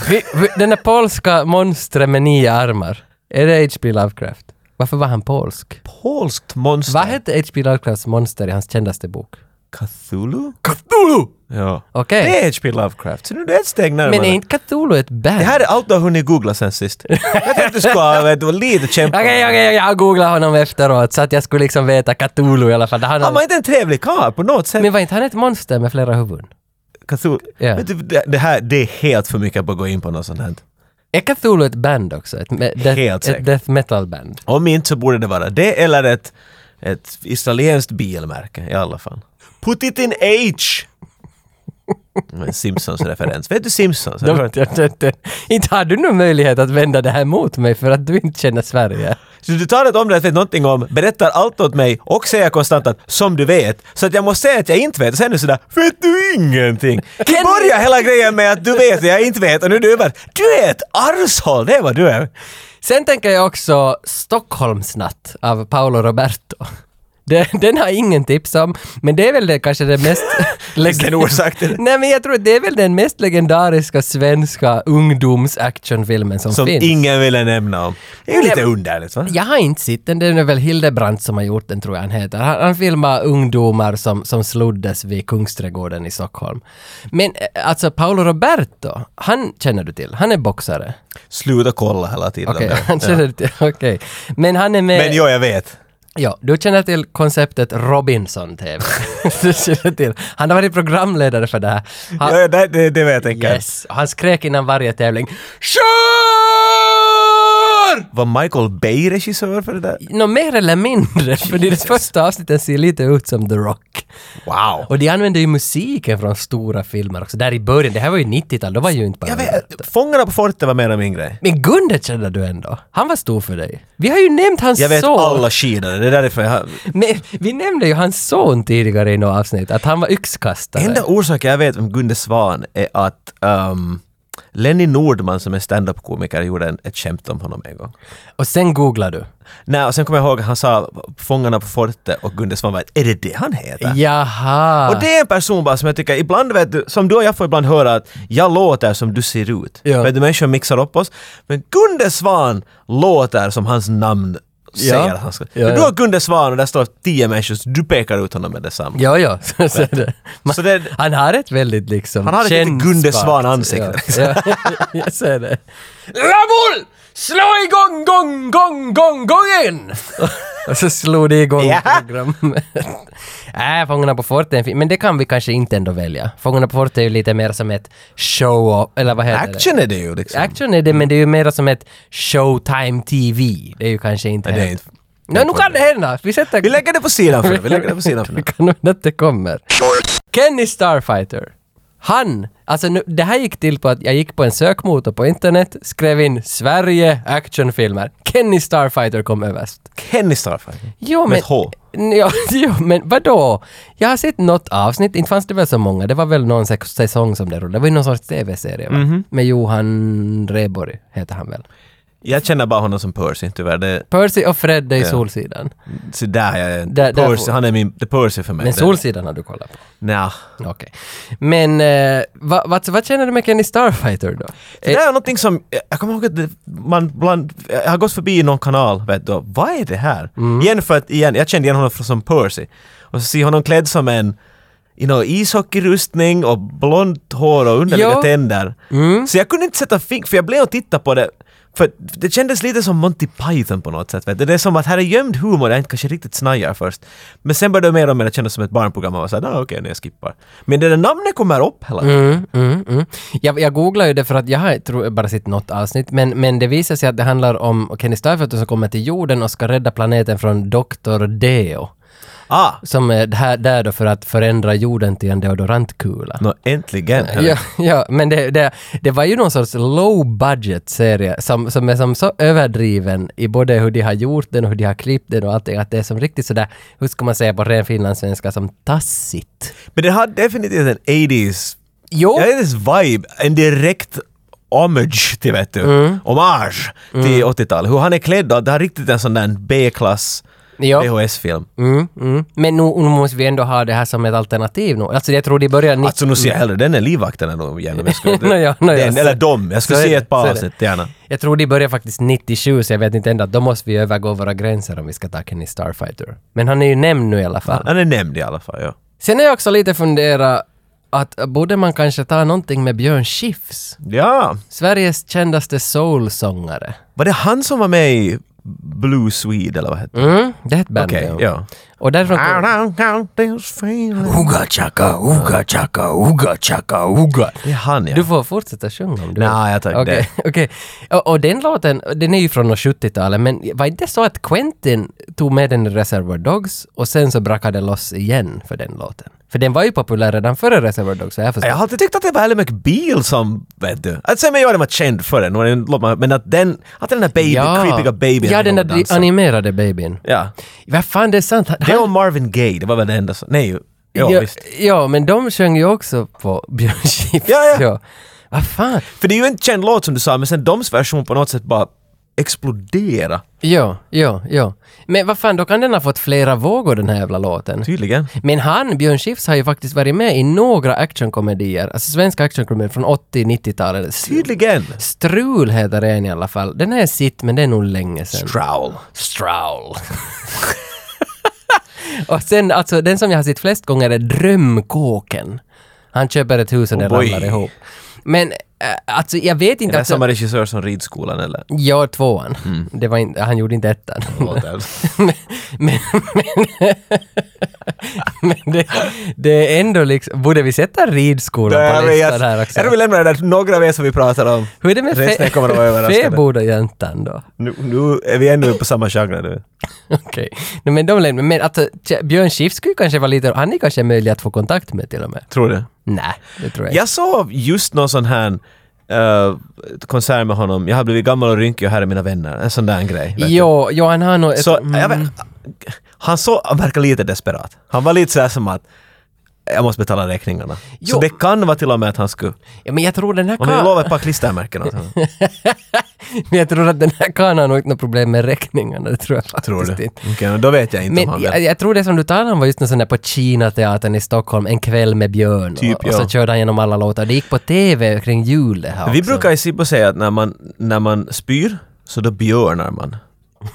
Speaker 2: vi- vi- den där polska monstret med nio armar. Är det H.P. Lovecraft? Varför var han polsk?
Speaker 1: Polskt monster.
Speaker 2: Vad hette H.P. Lovecrafts monster i hans kändaste bok?
Speaker 1: Cthulhu?
Speaker 2: Cthulhu!
Speaker 1: Ja.
Speaker 2: Okej.
Speaker 1: Det är H.P. Lovecraft. Så nu är du ett steg närmare.
Speaker 2: Men är inte Cthulhu ett band?
Speaker 1: Det här är allt du har hunnit googla sen sist. jag tänkte att du skulle ha vet du, lite kämpa.
Speaker 2: Okej, okej, okej, jag googlade honom efteråt så att jag skulle liksom veta Cthulhu i alla fall. Han
Speaker 1: Han var inte en trevlig karl på något sätt.
Speaker 2: Men var inte han ett monster med flera huvuden?
Speaker 1: Cthulhu.
Speaker 2: Ja.
Speaker 1: Vet du, det, det här, det är helt för mycket på att gå in på något sånt här.
Speaker 2: Är Cthulhu ett band också? Ett, me- death-
Speaker 1: Helt säkert.
Speaker 2: ett death metal band?
Speaker 1: Om inte så borde det vara det eller ett, ett israelinskt bilmärke i alla fall. Put it in H! En Simpsons-referens. Vet du Simpsons?
Speaker 2: De, de, de, de, inte har du någon möjlighet att vända det här mot mig för att du inte känner Sverige.
Speaker 1: Så du talar inte om det jag vet någonting om, berättar allt åt mig och säger konstant att ”som du vet”. Så att jag måste säga att jag inte vet och sen är det sådär ”vet du ingenting?”. Du
Speaker 2: Kenny!
Speaker 1: börjar hela grejen med att du vet och jag inte vet och nu är du över ”du är ett arshåll”, det är vad du är.
Speaker 2: Sen tänker jag också Stockholmsnatt av Paolo Roberto. Den, den har ingen tips om, men det är väl det kanske det mest...
Speaker 1: Finns det en orsak till det?
Speaker 2: Nej men jag tror att det är väl den mest legendariska svenska ungdomsactionfilmen som,
Speaker 1: Som
Speaker 2: finns.
Speaker 1: ingen ville nämna om. Det är ju
Speaker 2: Nej,
Speaker 1: lite
Speaker 2: men-
Speaker 1: underligt va?
Speaker 2: Jag har inte sett den, det är väl Hildebrandt som har gjort den tror jag han heter. Han, han filmar ungdomar som, som sloddes vid Kungsträdgården i Stockholm. Men eh, alltså Paolo Roberto, han känner du till, han är boxare.
Speaker 1: Sluta kolla hela tiden.
Speaker 2: Okej, Eh,
Speaker 1: där.
Speaker 2: han känner du till, okej. Men han är med...
Speaker 1: Men jo, jag vet.
Speaker 2: Ja, du känner till konceptet Robinson-TV. du känner till. Han har varit programledare för det här. Han,
Speaker 1: Ja, det, det, det vet jag tänker.
Speaker 2: yes, han skrek innan varje tävling KÖR!
Speaker 1: Var Michael Bay regissör för det där?
Speaker 2: Nå, mer eller mindre, för det första avsnittet ser lite ut som The Rock.
Speaker 1: Wow!
Speaker 2: Och de använde ju musiken från stora filmer också, där i början. Det här var ju 90-tal, då var ju inte bara...
Speaker 1: Jag vet, Fångarna på fortet var mer av min grej.
Speaker 2: Men Gunde känner du ändå. Han var stor för dig. Vi har ju nämnt hans
Speaker 1: Jag vet
Speaker 2: son.
Speaker 1: alla skidor, det är därför jag har...
Speaker 2: Men vi nämnde ju hans son tidigare i något avsnitt, att han var yxkastare.
Speaker 1: Enda orsaken jag vet om Gunde Svan är att ehm, Lenny Nordman som är standup-komiker gjorde en, ett skämt om honom en gång.
Speaker 2: Och sen googlar du.
Speaker 1: Nej, och sen kommer jag ihåg att han sa Fångarna på fortet och Gunde Svan var är det det han heter?
Speaker 2: Jaha.
Speaker 1: Och det är en person bara som jag tycker ibland vet du, som du och jag får ibland höra att jag låter som du ser ut.
Speaker 2: Ja.
Speaker 1: Vet du, människor mixar upp oss. Men Gunde Svan låter som hans namn säger
Speaker 2: Ja.
Speaker 1: att han ska.
Speaker 2: Ja,
Speaker 1: du
Speaker 2: ja.
Speaker 1: har Gunde Svan och där står tio människor, så du pekar ut honom med detsamma.
Speaker 2: Ja, ja. Så, så är det. Man,
Speaker 1: Så det,
Speaker 2: han har ett väldigt liksom...
Speaker 1: Han har ett lite
Speaker 2: känd
Speaker 1: Gunde
Speaker 2: spark.
Speaker 1: Svan-ansikte.
Speaker 2: Ja, ja. jag ser det. Ramul! Slå igång, gång, gång, gång, gången! Och så slog det igång
Speaker 1: Ja.
Speaker 2: programmet. Nej, Fångarna på fortet är en fin- Men det kan vi kanske inte ändå välja. Fångarna på fortet är ju lite mer som ett show... Eller vad heter
Speaker 1: action är det ju
Speaker 2: det?
Speaker 1: liksom.
Speaker 2: Action är det, men det är ju mer som ett Showtime TV. Det är ju kanske inte...
Speaker 1: Nej, det är
Speaker 2: helt-
Speaker 1: inte-
Speaker 2: Nå, nu kan det hända! Vi sätter...
Speaker 1: Vi lägger det på sidan för nu. Vi lägger det på sidan för
Speaker 2: Vi
Speaker 1: nu.
Speaker 2: kan nog att det kommer. Kenny Starfighter. Han, alltså nu, det här gick till på att jag gick på en sökmotor på internet, skrev in Sverige actionfilmer. Kenny Starfighter kom överst.
Speaker 1: Kenny Starfighter.
Speaker 2: Jo,
Speaker 1: Med ett H.
Speaker 2: N- Ja, jo, men vadå? Jag har sett något avsnitt, inte fanns det väl så många, det var väl någon sex- säsong som det rullade. Det var ju någon sorts TV-serie va? Med Johan Rheborg, heter han väl.
Speaker 1: Jag känner bara honom som Percy tyvärr. Det,
Speaker 2: Percy och Fred är i Solsidan.
Speaker 1: så där jag är.
Speaker 2: Där- där
Speaker 1: Percy,
Speaker 2: får-
Speaker 1: han är min... Det är Percy för mig.
Speaker 2: Men
Speaker 1: Det-
Speaker 2: Solsidan har du kollat på.
Speaker 1: Nja.
Speaker 2: Okej. Men eh, vad, vad, vad känner du med Kenny Starfighter då?
Speaker 1: Det där är någonting som, jag kommer ihåg att det, man bland, jag har gått förbi någon kanal, vet du, och vad är det här?
Speaker 2: Mm.
Speaker 1: Igen för att, igen, jag kände igen honom från- som Percy. Och så ser jag honom klädd som en, i någon ishockeyrustning och blont hår och underliga
Speaker 2: Ja. Mm.
Speaker 1: tänder. Så jag kunde inte sätta fingret, för jag blev och tittade på det, för det kändes lite som Monty Python på något sätt. Vet du. Det är som att här är gömd humor jag inte kanske riktigt snajar först. Men sen började jag mer och mer kännas som ett barnprogram och var såhär, ah, okej, nu jag skippar. Men det där namnet kommer upp hela tiden.
Speaker 2: Mm, mm, mm. Jag, jag googlar ju det för att jag har tror, jag bara sett något avsnitt, men, men det visar sig att det handlar om Kenny Starfighter som kommer till jorden och ska rädda planeten från Dr. Deo.
Speaker 1: Ah!
Speaker 2: Som är där, där då för att förändra jorden till en deodorantkula.
Speaker 1: Nå, äntligen!
Speaker 2: Ja, ja, men det, det, det var ju någon sorts low budget serie som, som är som så överdriven i både hur de har gjort den och hur de har klippt den och allting att det är som riktigt sådär, hur ska man säga på ren finlandssvenska, som tassigt.
Speaker 1: Men det har definitivt en 80s,
Speaker 2: Jo,
Speaker 1: ja, 80s vibe, en direkt homage till vet du,
Speaker 2: Mm.
Speaker 1: hommage till 80-talet. Hur han är klädd då, det har riktigt en sån där B-klass
Speaker 2: jo.
Speaker 1: VHS-film.
Speaker 2: Mm, mm. men nu, nu måste vi ändå ha det här som ett alternativ nu. Alltså jag tror det börjar... nitt-
Speaker 1: Alltså nu ser jag hellre den är livvakterna nog gärna. men skulle-
Speaker 2: Nåja, nåja,
Speaker 1: den,
Speaker 2: så-
Speaker 1: eller dem, jag skulle
Speaker 2: så är
Speaker 1: se
Speaker 2: det,
Speaker 1: ett par
Speaker 2: så är det.
Speaker 1: avsnitt gärna.
Speaker 2: Jag tror de börjar faktiskt 97 så jag vet inte ändå, då måste vi övergå våra gränser om vi ska ta Kenny Starfighter. Men han är ju nämnd nu i alla fall.
Speaker 1: Han är nämnd i alla fall, ja.
Speaker 2: Sen har jag också lite funderat att borde man kanske ta någonting med Björn Skifs?
Speaker 1: Ja,
Speaker 2: Sveriges kändaste soulsångare.
Speaker 1: var det han som var med i Blue Swede eller vad hette det?
Speaker 2: Mm, det är ett band.
Speaker 1: Okej,
Speaker 2: det.
Speaker 1: ja.
Speaker 2: Och därifrån
Speaker 1: I
Speaker 2: kom...
Speaker 1: don't count this feeling.
Speaker 2: Uga chaka, uga chaka, uga chaka, uga.
Speaker 1: Det är han ja.
Speaker 2: Du får fortsätta sjunga om du
Speaker 1: Nej, jag tar inte
Speaker 2: Okej, okej. Och, och den låten, den är ju från 70-talet, men var inte det så att Quentin tog med den i Reservoir Dogs och sen så brakade det loss igen för den låten? För den var ju populär redan före Reservoir Dogs, så jag förstår.
Speaker 1: Jag har alltid tyckt att det var Ally McBeal som, vet du. Att sen men jag den var känd för den, och den låt man- men att den, att den där baby, creepiga babyn
Speaker 2: Ja, den
Speaker 1: låg och
Speaker 2: där
Speaker 1: dansade.
Speaker 2: animerade babyn.
Speaker 1: Ja.
Speaker 2: Vad fan, det är sant. Han,
Speaker 1: Det och Marvin Gaye, det var väl det enda som... Nej, ju. Ja,
Speaker 2: ja,
Speaker 1: visst.
Speaker 2: ja, men de sjöng ju också på Björn Skifs.
Speaker 1: Ja, ja.
Speaker 2: Vad fan?
Speaker 1: För det är ju en känd låt som du sa, men sen doms version på något sätt bara explodera.
Speaker 2: Ja, ja, ja. Men vad fan, då kan den ha fått flera vågor den här jävla låten.
Speaker 1: Tydligen.
Speaker 2: Men han, Björn Skifs, har ju faktiskt varit med i några actionkomedier, alltså svenska actionkomedier från 80-90-talet.
Speaker 1: Tydligen.
Speaker 2: Strul heter en i alla fall. Den här är sitt, men det är nog länge sedan.
Speaker 1: Strowl.
Speaker 2: Strowl. och sen, alltså den som jag har sett flest gånger är Drömkåken. Han köper ett hus och det
Speaker 1: Oh boy.
Speaker 2: ramlar ihop. Men äh, alltså jag vet
Speaker 1: Är
Speaker 2: inte...
Speaker 1: det
Speaker 2: Alltså,
Speaker 1: samma regissör som Mm. Ridskolan eller?
Speaker 2: Ja, tvåan. Det var inte, han gjorde inte ettan.
Speaker 1: Låten.
Speaker 2: men, men, men, men det, det är ändå liksom... Borde vi sätta ridskolan på listan här också?
Speaker 1: Jag tror vi lämnar det där, några av er som vi pratar om.
Speaker 2: Hur är det med
Speaker 1: Resten kommer att vara
Speaker 2: fe-
Speaker 1: överraskade.
Speaker 2: fäbodajäntan då?
Speaker 1: Nu, nu är vi ännu på samma genre nu.
Speaker 2: Okej. No, men de lämnar. Men alltså, tja, Björn Schiff skulle ju kanske vara lite... Han är kanske möjlig att få kontakt med till och med.
Speaker 1: Tror du?
Speaker 2: Nej, det tror jag inte.
Speaker 1: Jag såg just någon sån här eh, konsert med honom. Jag har blivit gammal och rynkig och här är mina vänner. En sån där grej. vet du.
Speaker 2: Jo, jo, han har nog... ett-
Speaker 1: Så,
Speaker 2: mm.
Speaker 1: jag vet, han, så, han verkar lite desperat. Han var lite sådär som att jag måste betala räkningarna.
Speaker 2: Jo.
Speaker 1: Så det kan vara till och med att han skulle...
Speaker 2: Ja, men jag tror den här
Speaker 1: Om jag
Speaker 2: kan...
Speaker 1: lovar ett par klistermärken åt honom.
Speaker 2: Men jag tror att den här kan har nog inte något problem med räkningarna. Det tror jag faktiskt
Speaker 1: Tror du?
Speaker 2: inte.
Speaker 1: Okej, men då vet jag inte om
Speaker 2: Men
Speaker 1: han vet.
Speaker 2: jag, jag tror det som du talade om var just någon sån där på Kinateatern i Stockholm, En kväll med Björn.
Speaker 1: Typ,
Speaker 2: och, och så
Speaker 1: ja.
Speaker 2: körde han genom alla låtar. Det gick på TV kring jul det här
Speaker 1: Vi
Speaker 2: också.
Speaker 1: brukar i Sibbo säga att när man, när man spyr så då björnar man.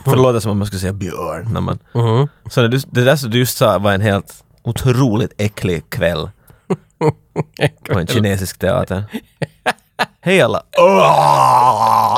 Speaker 1: För det låter som om man skulle säga björn. När man,
Speaker 2: Mhm.
Speaker 1: Så när du, det där som du just sa var en helt otroligt äcklig kväll på en kinesisk teater. Hej alla! Åh!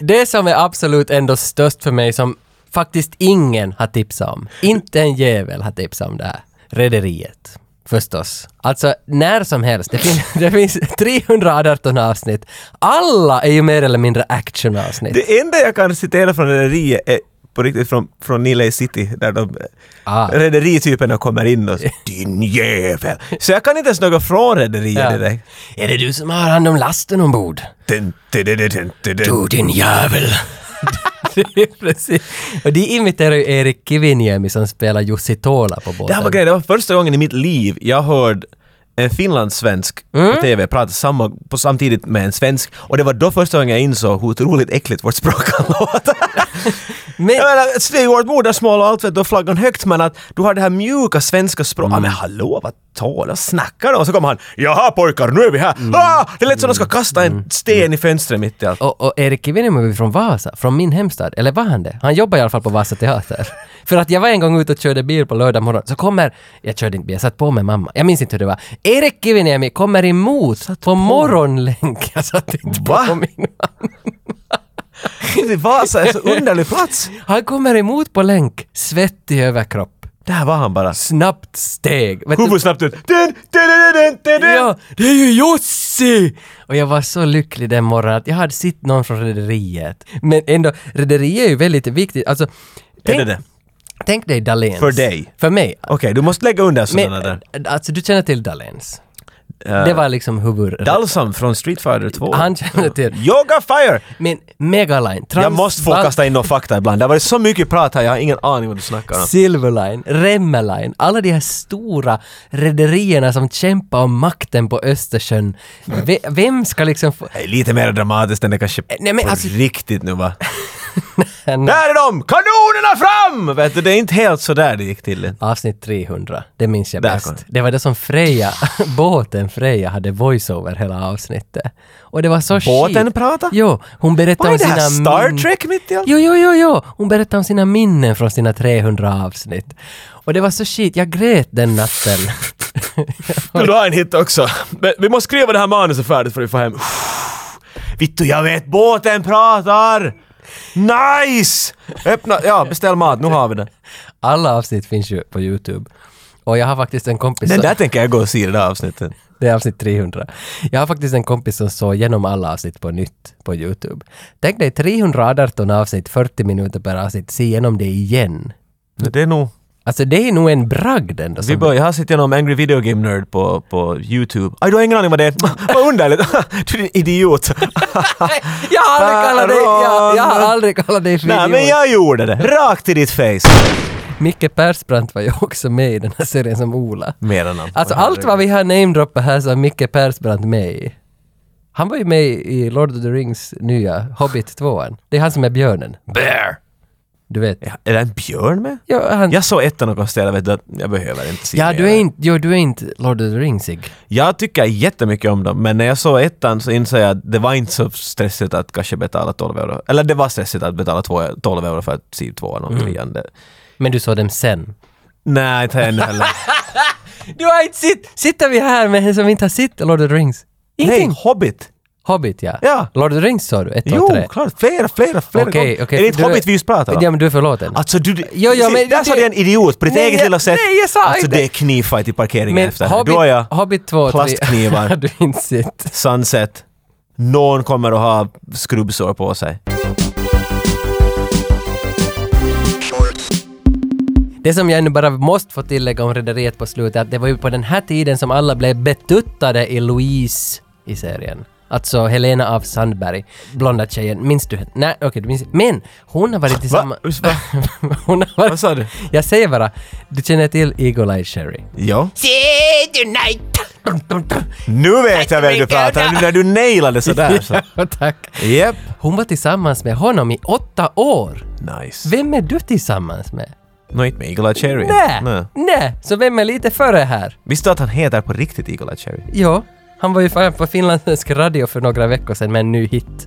Speaker 2: Det som är absolut ändå störst för mig som faktiskt ingen har tipsat om. Inte en jävel har tipsat om det här. Rederiet. Förstås. Alltså när som helst. Det, fin- det finns 318 avsnitt. Alla är ju mer eller mindre actionavsnitt.
Speaker 1: Det enda jag kan citera från Rederiet är på riktigt från, från Nile City där de
Speaker 2: Ah.
Speaker 1: rederityperna kommer in och så, din jävel. Så jag kan inte ens något från rederiet
Speaker 2: Ja.
Speaker 1: direkt.
Speaker 2: Är det du som har hand om lasten ombord?
Speaker 1: Dun, dun, dun, dun, dun, dun, dun.
Speaker 2: Du din jävel! Det är Precis. Och de imiterar ju Erik Kiviniemi som spelar Jussi Tola på båten.
Speaker 1: Det här var grejen, det var första gången i mitt liv jag hörde en finlandssvensk på TV prata samma, på samtidigt med en svensk och det var då första gången jag insåg hur otroligt äckligt vårt språk kan låta.
Speaker 2: Men,
Speaker 1: jag menar, det är ju vårt modersmål och allt vet du, och flaggan högt men att du har det här mjuka svenska språket. Ja men hallå vad talar snackar de? Och så kommer han ”Jaha pojkar, nu är vi här!” ah! Det lät som att de ska kasta en sten i fönstret mitt i allt.
Speaker 2: och, och Erik Kiviniemi är från Vasa, från min hemstad. Eller var han det? Han jobbar i alla fall på Vasa Teater. För att jag var en gång ute och körde bil på lördag morgon, så kommer... Jag körde inte bil, jag satt på med mamma. Jag minns inte hur det var. Erik Kiviniemi kommer emot på morgonlänk. Jag satt inte på
Speaker 1: Va?
Speaker 2: min mamma.
Speaker 1: Vasa är så underlig plats.
Speaker 2: Han kommer emot på länk, svettig överkropp,
Speaker 1: Där var han bara.
Speaker 2: snabbt steg. Vet du-
Speaker 1: Huvudet snabbt ut. Dun, dun, dun, dun, dun, dun.
Speaker 2: Ja, det är ju Jussi! Och jag var så lycklig den morgonen att jag hade sett någon från Rederiet. Men ändå, Rederiet är ju väldigt viktigt. Alltså, tänk,
Speaker 1: Är det det?
Speaker 2: tänk dig Dahléns.
Speaker 1: För dig?
Speaker 2: För mig.
Speaker 1: Okej, du måste lägga undan
Speaker 2: Men,
Speaker 1: sådana där.
Speaker 2: alltså, du känner till Dahléns?
Speaker 1: Eh,
Speaker 2: Det var liksom huvud...
Speaker 1: Dalsam från Street Fighter 2.
Speaker 2: Han känner till.
Speaker 1: Yoga Fire!
Speaker 2: Men Megaline,
Speaker 1: Jag måste få
Speaker 2: Transbalt-
Speaker 1: kasta in någon fakta ibland. Det har varit så mycket prat här, jag har ingen aning vad du snackar om.
Speaker 2: Silverline, Remmeline, alla de här stora rederierna som kämpar om makten på Östersjön. Ve- Vem ska liksom få...
Speaker 1: Det är lite mer dramatiskt än det kanske
Speaker 2: nej, men
Speaker 1: på
Speaker 2: alltså-
Speaker 1: riktigt nu va? Där är de! Kanonerna fram! Vet du, det är inte helt sådär det gick till.
Speaker 2: Avsnitt 300, det minns jag
Speaker 1: Där
Speaker 2: bäst.
Speaker 1: kom den.
Speaker 2: Det var det som Freja, båten Freja hade voiceover hela avsnittet. Och det var så
Speaker 1: Båten
Speaker 2: skit.
Speaker 1: prata?
Speaker 2: Jo, hon berättade
Speaker 1: Vad är
Speaker 2: om
Speaker 1: det
Speaker 2: sina
Speaker 1: här? Star
Speaker 2: min-
Speaker 1: Trek mitt i allt?
Speaker 2: Jo, jo, jo, jo! Hon berättade om sina minnen från sina 300 avsnitt. Och det var så skit, jag grät den natten.
Speaker 1: Vill du ha en hit också? Men vi måste skriva det här manuset färdigt för att vi får hem. Vittu, jag vet båten pratar! Nice! Öppna, ja beställ mat, nu har vi det.
Speaker 2: Alla avsnitt finns ju på YouTube. Och jag har faktiskt en kompis...
Speaker 1: Den
Speaker 2: som-
Speaker 1: där tänker jag gå och se i det där avsnittet.
Speaker 2: Det är avsnitt 300. Jag har faktiskt en kompis som såg igenom alla avsnitt på nytt på YouTube. Tänk dig 318 avsnitt, 40 minuter per avsnitt, se igenom det igen.
Speaker 1: Det är nog...
Speaker 2: Alltså det är nog en bragd ändå.
Speaker 1: Vi
Speaker 2: Som,
Speaker 1: börjar, jag har sett igenom Angry Video Game Nerd på, på YouTube. Aj, du har ingen aning vad det är. vad underligt! du är en idiot.
Speaker 2: jag har aldrig kallat dig, jag, jag har aldrig kallat dig för
Speaker 1: Nej,
Speaker 2: idiot.
Speaker 1: men jag gjorde det. Rakt i ditt face.
Speaker 2: Micke Persbrandt var ju också med i den här serien som Ola.
Speaker 1: Mer än han.
Speaker 2: Alltså allt vad vi har namedroppat här så är Micke Persbrandt med i. Han var ju med i Lord of the Rings nya Hobbit 2 Det är han som är björnen.
Speaker 1: Bear!
Speaker 2: Du vet.
Speaker 1: Ja, är det en björn med?
Speaker 2: Ja, han, ja,
Speaker 1: Jag såg ettan och konstaterade vet du, att jag behöver inte se mer.
Speaker 2: du, är inte, jo, du är inte Lord of the Ringsig.
Speaker 1: Jag tycker jättemycket om dem, men när jag såg ettan så insåg jag att det var inte så stressigt att kanske betala 12 euro. Eller det var stressigt att betala två- 12 euro för att se tvåan och
Speaker 2: Mm.
Speaker 1: trean. Det-
Speaker 2: Men du såg dem sen.
Speaker 1: Nej, inte ännu heller.
Speaker 2: Du har inte sitt, Sitter vi här med en som inte har sett Lord of the Rings?
Speaker 1: Nej,
Speaker 2: Ingenting.
Speaker 1: Hobbit!
Speaker 2: Hobbit ja.
Speaker 1: Ja.
Speaker 2: Lord of the Rings sa du, ett och
Speaker 1: Jo,
Speaker 2: tre.
Speaker 1: klart! Flera, flera, flera
Speaker 2: Okej,
Speaker 1: gånger.
Speaker 2: okej,
Speaker 1: Är det inte
Speaker 2: du är-
Speaker 1: Hobbit vi just pratar om?
Speaker 2: Ja men du är förlåten.
Speaker 1: Alltså du,
Speaker 2: Jo, jo,
Speaker 1: se,
Speaker 2: men
Speaker 1: där
Speaker 2: det-
Speaker 1: sa du en idiot på ditt
Speaker 2: Nej,
Speaker 1: eget
Speaker 2: jag-
Speaker 1: lilla sätt.
Speaker 2: nej, jag sa
Speaker 1: alltså
Speaker 2: inte.
Speaker 1: det är knivfight i parkeringen
Speaker 2: men
Speaker 1: efter.
Speaker 2: Hobbit,
Speaker 1: Då är jag
Speaker 2: Hobbit 2 och 3
Speaker 1: Plastknivar.
Speaker 2: har du inte sett.
Speaker 1: sunset. Någon kommer att ha skrubbsår på sig.
Speaker 2: Det som jag nu bara måste få tillägga om Rederiet på slutet, att det var ju på den här tiden som alla blev betuttade i Louise i serien. Alltså Helena af Sandberg, blonda tjejen. Minns du henne? Nej, okej du minns Men hon har varit tillsammans...
Speaker 1: Us- va?
Speaker 2: hon har varit...
Speaker 1: Vad sa du?
Speaker 2: Jag säger bara, du känner till Eagle Eye Cherry?
Speaker 1: Ja.
Speaker 2: Saturday night!
Speaker 1: Nu vet jag vem du pratar om. Nu När du nailade sådär så.
Speaker 2: Ja, Tack.
Speaker 1: Japp.
Speaker 2: Hon var tillsammans med honom i åtta år.
Speaker 1: Nice.
Speaker 2: Vem är du tillsammans med?
Speaker 1: Nå, inte med Eagle Eye Cherry.
Speaker 2: Nej! Nej! Så vem är lite före här?
Speaker 1: Visste du att han heter på riktigt Eagle Eye Cherry?
Speaker 2: Ja, han var ju fan på finländsk radio för några veckor sedan med en ny hit.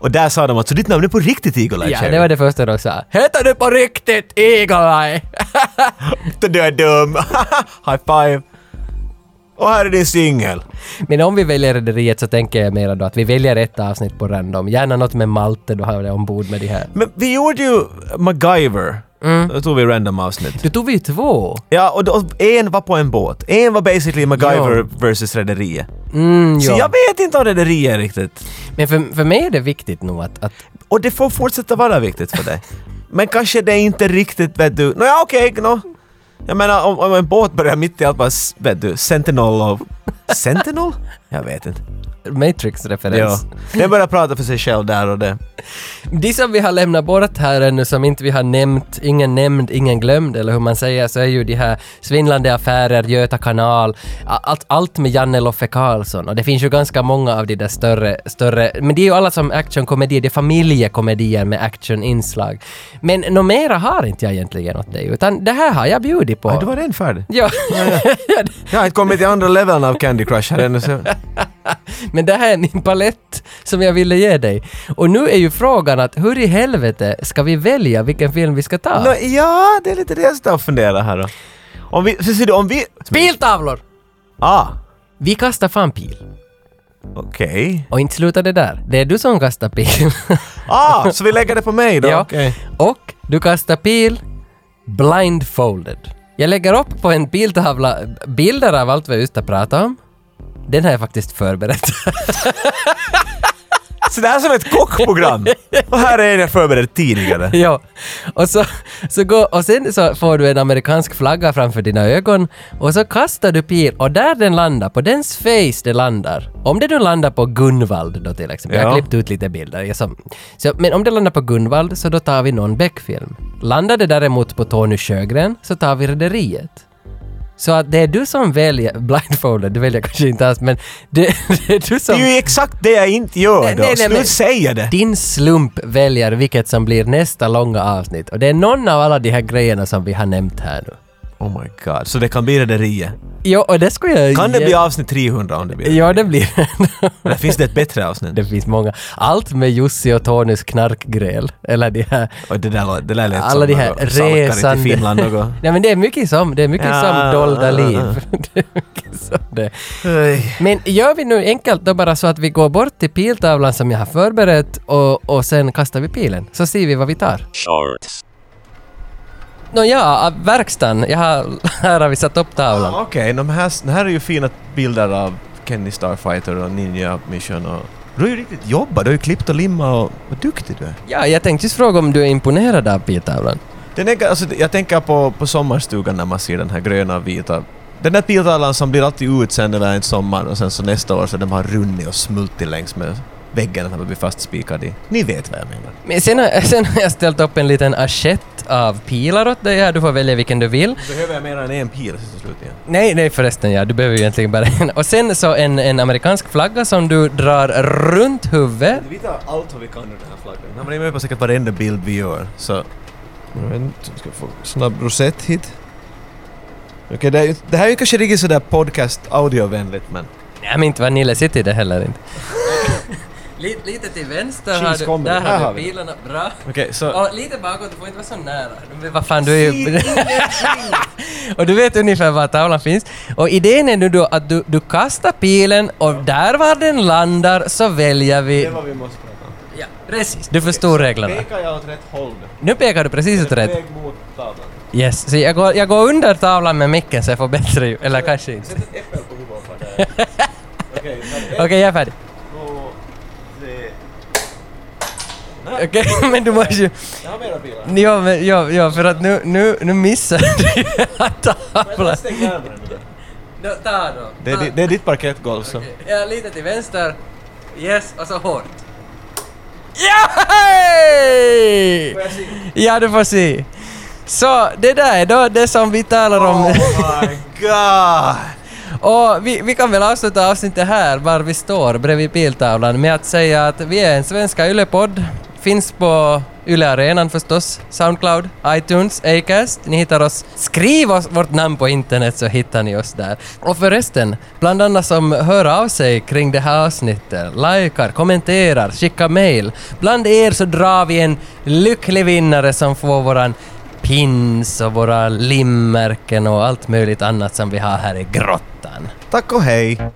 Speaker 1: Och där sa de att så ditt namn är på riktigt Eagle Eye
Speaker 2: Ja,
Speaker 1: Cherry.
Speaker 2: det var det första de sa. Heter du på riktigt Eagle-Eye?
Speaker 1: Du är dum! High five! Och här är din singel.
Speaker 2: Men om vi väljer Rederiet så tänker jag mera då att vi väljer ett avsnitt på random. Gärna något med Malte, då har vi det ombord med de här.
Speaker 1: Men vi gjorde ju MacGyver. Då tog vi random avsnitt.
Speaker 2: Du tog vi ju två.
Speaker 1: Ja, och då, en var på en båt. En var basically MacGyver versus Rederiet.
Speaker 2: Mm,
Speaker 1: Så jag
Speaker 2: ja.
Speaker 1: vet inte om Rederiet är riktigt.
Speaker 2: Men för, för mig är det viktigt nog att, att
Speaker 1: Och det får fortsätta vara viktigt för dig. Men kanske det är inte riktigt, vet du. Nåja, okej, nå. Jag menar, om, om en båt börjar mitt i allt bara, s- vet du, Sentinel och... Sentinel? Jag vet inte. Ja.
Speaker 2: Matrix-referens.
Speaker 1: Den börjar prata för sig själv där och det.
Speaker 2: De som vi har lämnat bort här ännu som inte vi har nämnt, ingen nämnd, ingen glömd eller hur man säger, så är ju de här svindlande affärer, Göta kanal, a- allt, allt med Janne Loffe Karlsson och det finns ju ganska många av de där större, större, men det är ju alla som actionkomedier, det är familjekomedier med actioninslag. Men något mera har inte jag egentligen åt dig, utan det här har jag bjudit på.
Speaker 1: Ja, du var redan färdig.
Speaker 2: Ja,
Speaker 1: Jag har inte kommit till andra leveln av Candy Crush här ännu. Så.
Speaker 2: men det här är min palett som jag ville ge dig. Och nu är ju frågan att hur i helvete ska vi välja vilken film vi ska ta?
Speaker 1: Nå, ja, det är lite det jag står och funderar här då. Om vi... Så ser du, om vi...
Speaker 2: Piltavlor!
Speaker 1: Ah!
Speaker 2: Vi kastar fan pil.
Speaker 1: Okej.
Speaker 2: Och inte slutar det där. Det är du som kastar pil.
Speaker 1: Ah, så vi lägger det på mig då?
Speaker 2: Ja.
Speaker 1: Okej.
Speaker 2: Och du kastar pil blindfolded. Jag lägger upp på en piltavla bilder av allt vi just har pratat om. Den har jag faktiskt förberett.
Speaker 1: Så det här är som ett kockprogram! Och här är en jag förberett tidigare.
Speaker 2: ja. Och, så, så går, och sen så får du en amerikansk flagga framför dina ögon och så kastar du pil och där den landar, på dens face det landar. Om det nu landar på Gunvald då till exempel. Jag
Speaker 1: Ja.
Speaker 2: har klippt ut lite bilder. Jag som, så, men om det landar på Gunvald så då tar vi någon Beck-film. Landar det däremot på Tony Sjögren så tar vi Rederiet. Så att det är du som väljer, blindfolded, du väljer kanske inte alls men det, det är du som...
Speaker 1: Det är ju exakt det jag inte gör
Speaker 2: Nej,
Speaker 1: då.
Speaker 2: nej, nej, men-
Speaker 1: Slut säga det!
Speaker 2: Din slump väljer vilket som blir nästa långa avsnitt. Och det är någon av alla de här grejerna som vi har nämnt här nu.
Speaker 1: Oh my god, så det kan bli Rederiet.
Speaker 2: Jo, och det skulle jag...
Speaker 1: Kan det
Speaker 2: ge-
Speaker 1: bli avsnitt 300 om det blir
Speaker 2: Ja, det blir
Speaker 1: Eller finns det ett bättre avsnitt?
Speaker 2: det. finns många. Allt med Jussi och Tonys knarkgräl. Eller de här...
Speaker 1: Oj, det där, lå- det där lät
Speaker 2: Alla
Speaker 1: som
Speaker 2: de här
Speaker 1: något salkar
Speaker 2: resande...
Speaker 1: i Finland något.
Speaker 2: Nej men det är mycket som, det är mycket
Speaker 1: Ja, ja,
Speaker 2: som dolda
Speaker 1: ja, ja.
Speaker 2: liv. det är mycket som det.
Speaker 1: Oj.
Speaker 2: Men gör vi nu enkelt då bara så att vi går bort till piltavlan som jag har förberett och, och sen kastar vi pilen. Så ser vi vad vi tar.
Speaker 3: Shorts.
Speaker 2: Nåja, av verkstaden. Jag har, här har vi satt upp tavlan.
Speaker 1: Ah, Okej, de här, de här är ju fina bilder av Kenny Starfighter och Ninja Mission och... Du har ju riktigt jobbat, du har ju klippt och limmat och... Vad duktig du är.
Speaker 2: Ja, jag tänkte just fråga om du är imponerad av piltavlan.
Speaker 1: Den är, alltså, jag tänker på, på sommarstugan när man ser den här gröna vita den där piltavlan som blir alltid utsänd över en sommar och sen så nästa år så den har runnit och smultit längs med väggen den har blivit fastspikad i. Ni vet vad jag menar.
Speaker 2: Men sen, har, sen har jag ställt upp en liten assiett av pilar åt dig här, du får välja vilken du vill.
Speaker 1: Behöver jag mer än en pil till slut igen?
Speaker 2: Nej, nej förresten ja, du behöver ju egentligen bara en. Och sen så en, en amerikansk flagga som du drar runt huvudet.
Speaker 1: Vi tar allt vad vi kan ur den här flaggan. Den har varit med på säkert varenda bild vi gör, så... Jag vet inte, ska jag få snabb rosett hit. Okej, det, är ju- det här är ju kanske riktigt sådär podcast audiovänligt men...
Speaker 2: Nej men inte Vanilla City det heller inte. lite, lite till vänster
Speaker 1: Cheese
Speaker 2: har du,
Speaker 1: kommer.
Speaker 2: där
Speaker 1: Här
Speaker 2: har
Speaker 1: har
Speaker 2: du
Speaker 1: vi
Speaker 2: pilarna, bra.
Speaker 1: Okej, så...
Speaker 2: Och lite bakåt, du får inte vara så nära. Men vad fan, du är ju... och du vet ungefär var tavlan finns. Och idén är nu då att du, du kastar pilen och där var den landar så väljer vi...
Speaker 1: vad vi måste prata om.
Speaker 2: Ja, precis. Du förstår reglerna.
Speaker 1: jag åt rätt håll nu?
Speaker 2: Nu pekar du precis åt rätt.
Speaker 1: mot tavlan.
Speaker 2: Yes, så jag går, jag går under tavlan med micken så jag får bättre ljud. Eller kanske inte.
Speaker 1: ett äppel på huvudet på det Okej,
Speaker 2: Okej, jag är färdig.
Speaker 1: två, tre...
Speaker 2: Okej, men du måste ju...
Speaker 1: Jag har mera bilar.
Speaker 2: Ja, men, ja, ja, för att nu, nu, nu missar du ju tavlan. Nå, Ta då.
Speaker 1: Det är, di- det är ditt parkettgolv så.
Speaker 2: Ja, lite till vänster. Yes, och så hårt. Ja! hej! Ja, du får se. Så det där är då det som vi talar om.
Speaker 1: Oh my god!
Speaker 2: Och vi, vi kan väl avsluta avsnittet här, var vi står bredvid biltavlan, med att säga att vi är en svenska ylepodd. Finns på Yle Arenan förstås, Soundcloud, iTunes, Acast. Ni hittar oss. Skriv oss vårt namn på internet så hittar ni oss där. Och förresten, bland andra som hör av sig kring det här avsnittet, likar, kommenterar, skickar mail. Bland er så drar vi en lycklig vinnare som får våran pins och våra
Speaker 1: oh,
Speaker 2: limmärken och allt möjligt annat som vi har här i grottan.
Speaker 1: Tack och hej!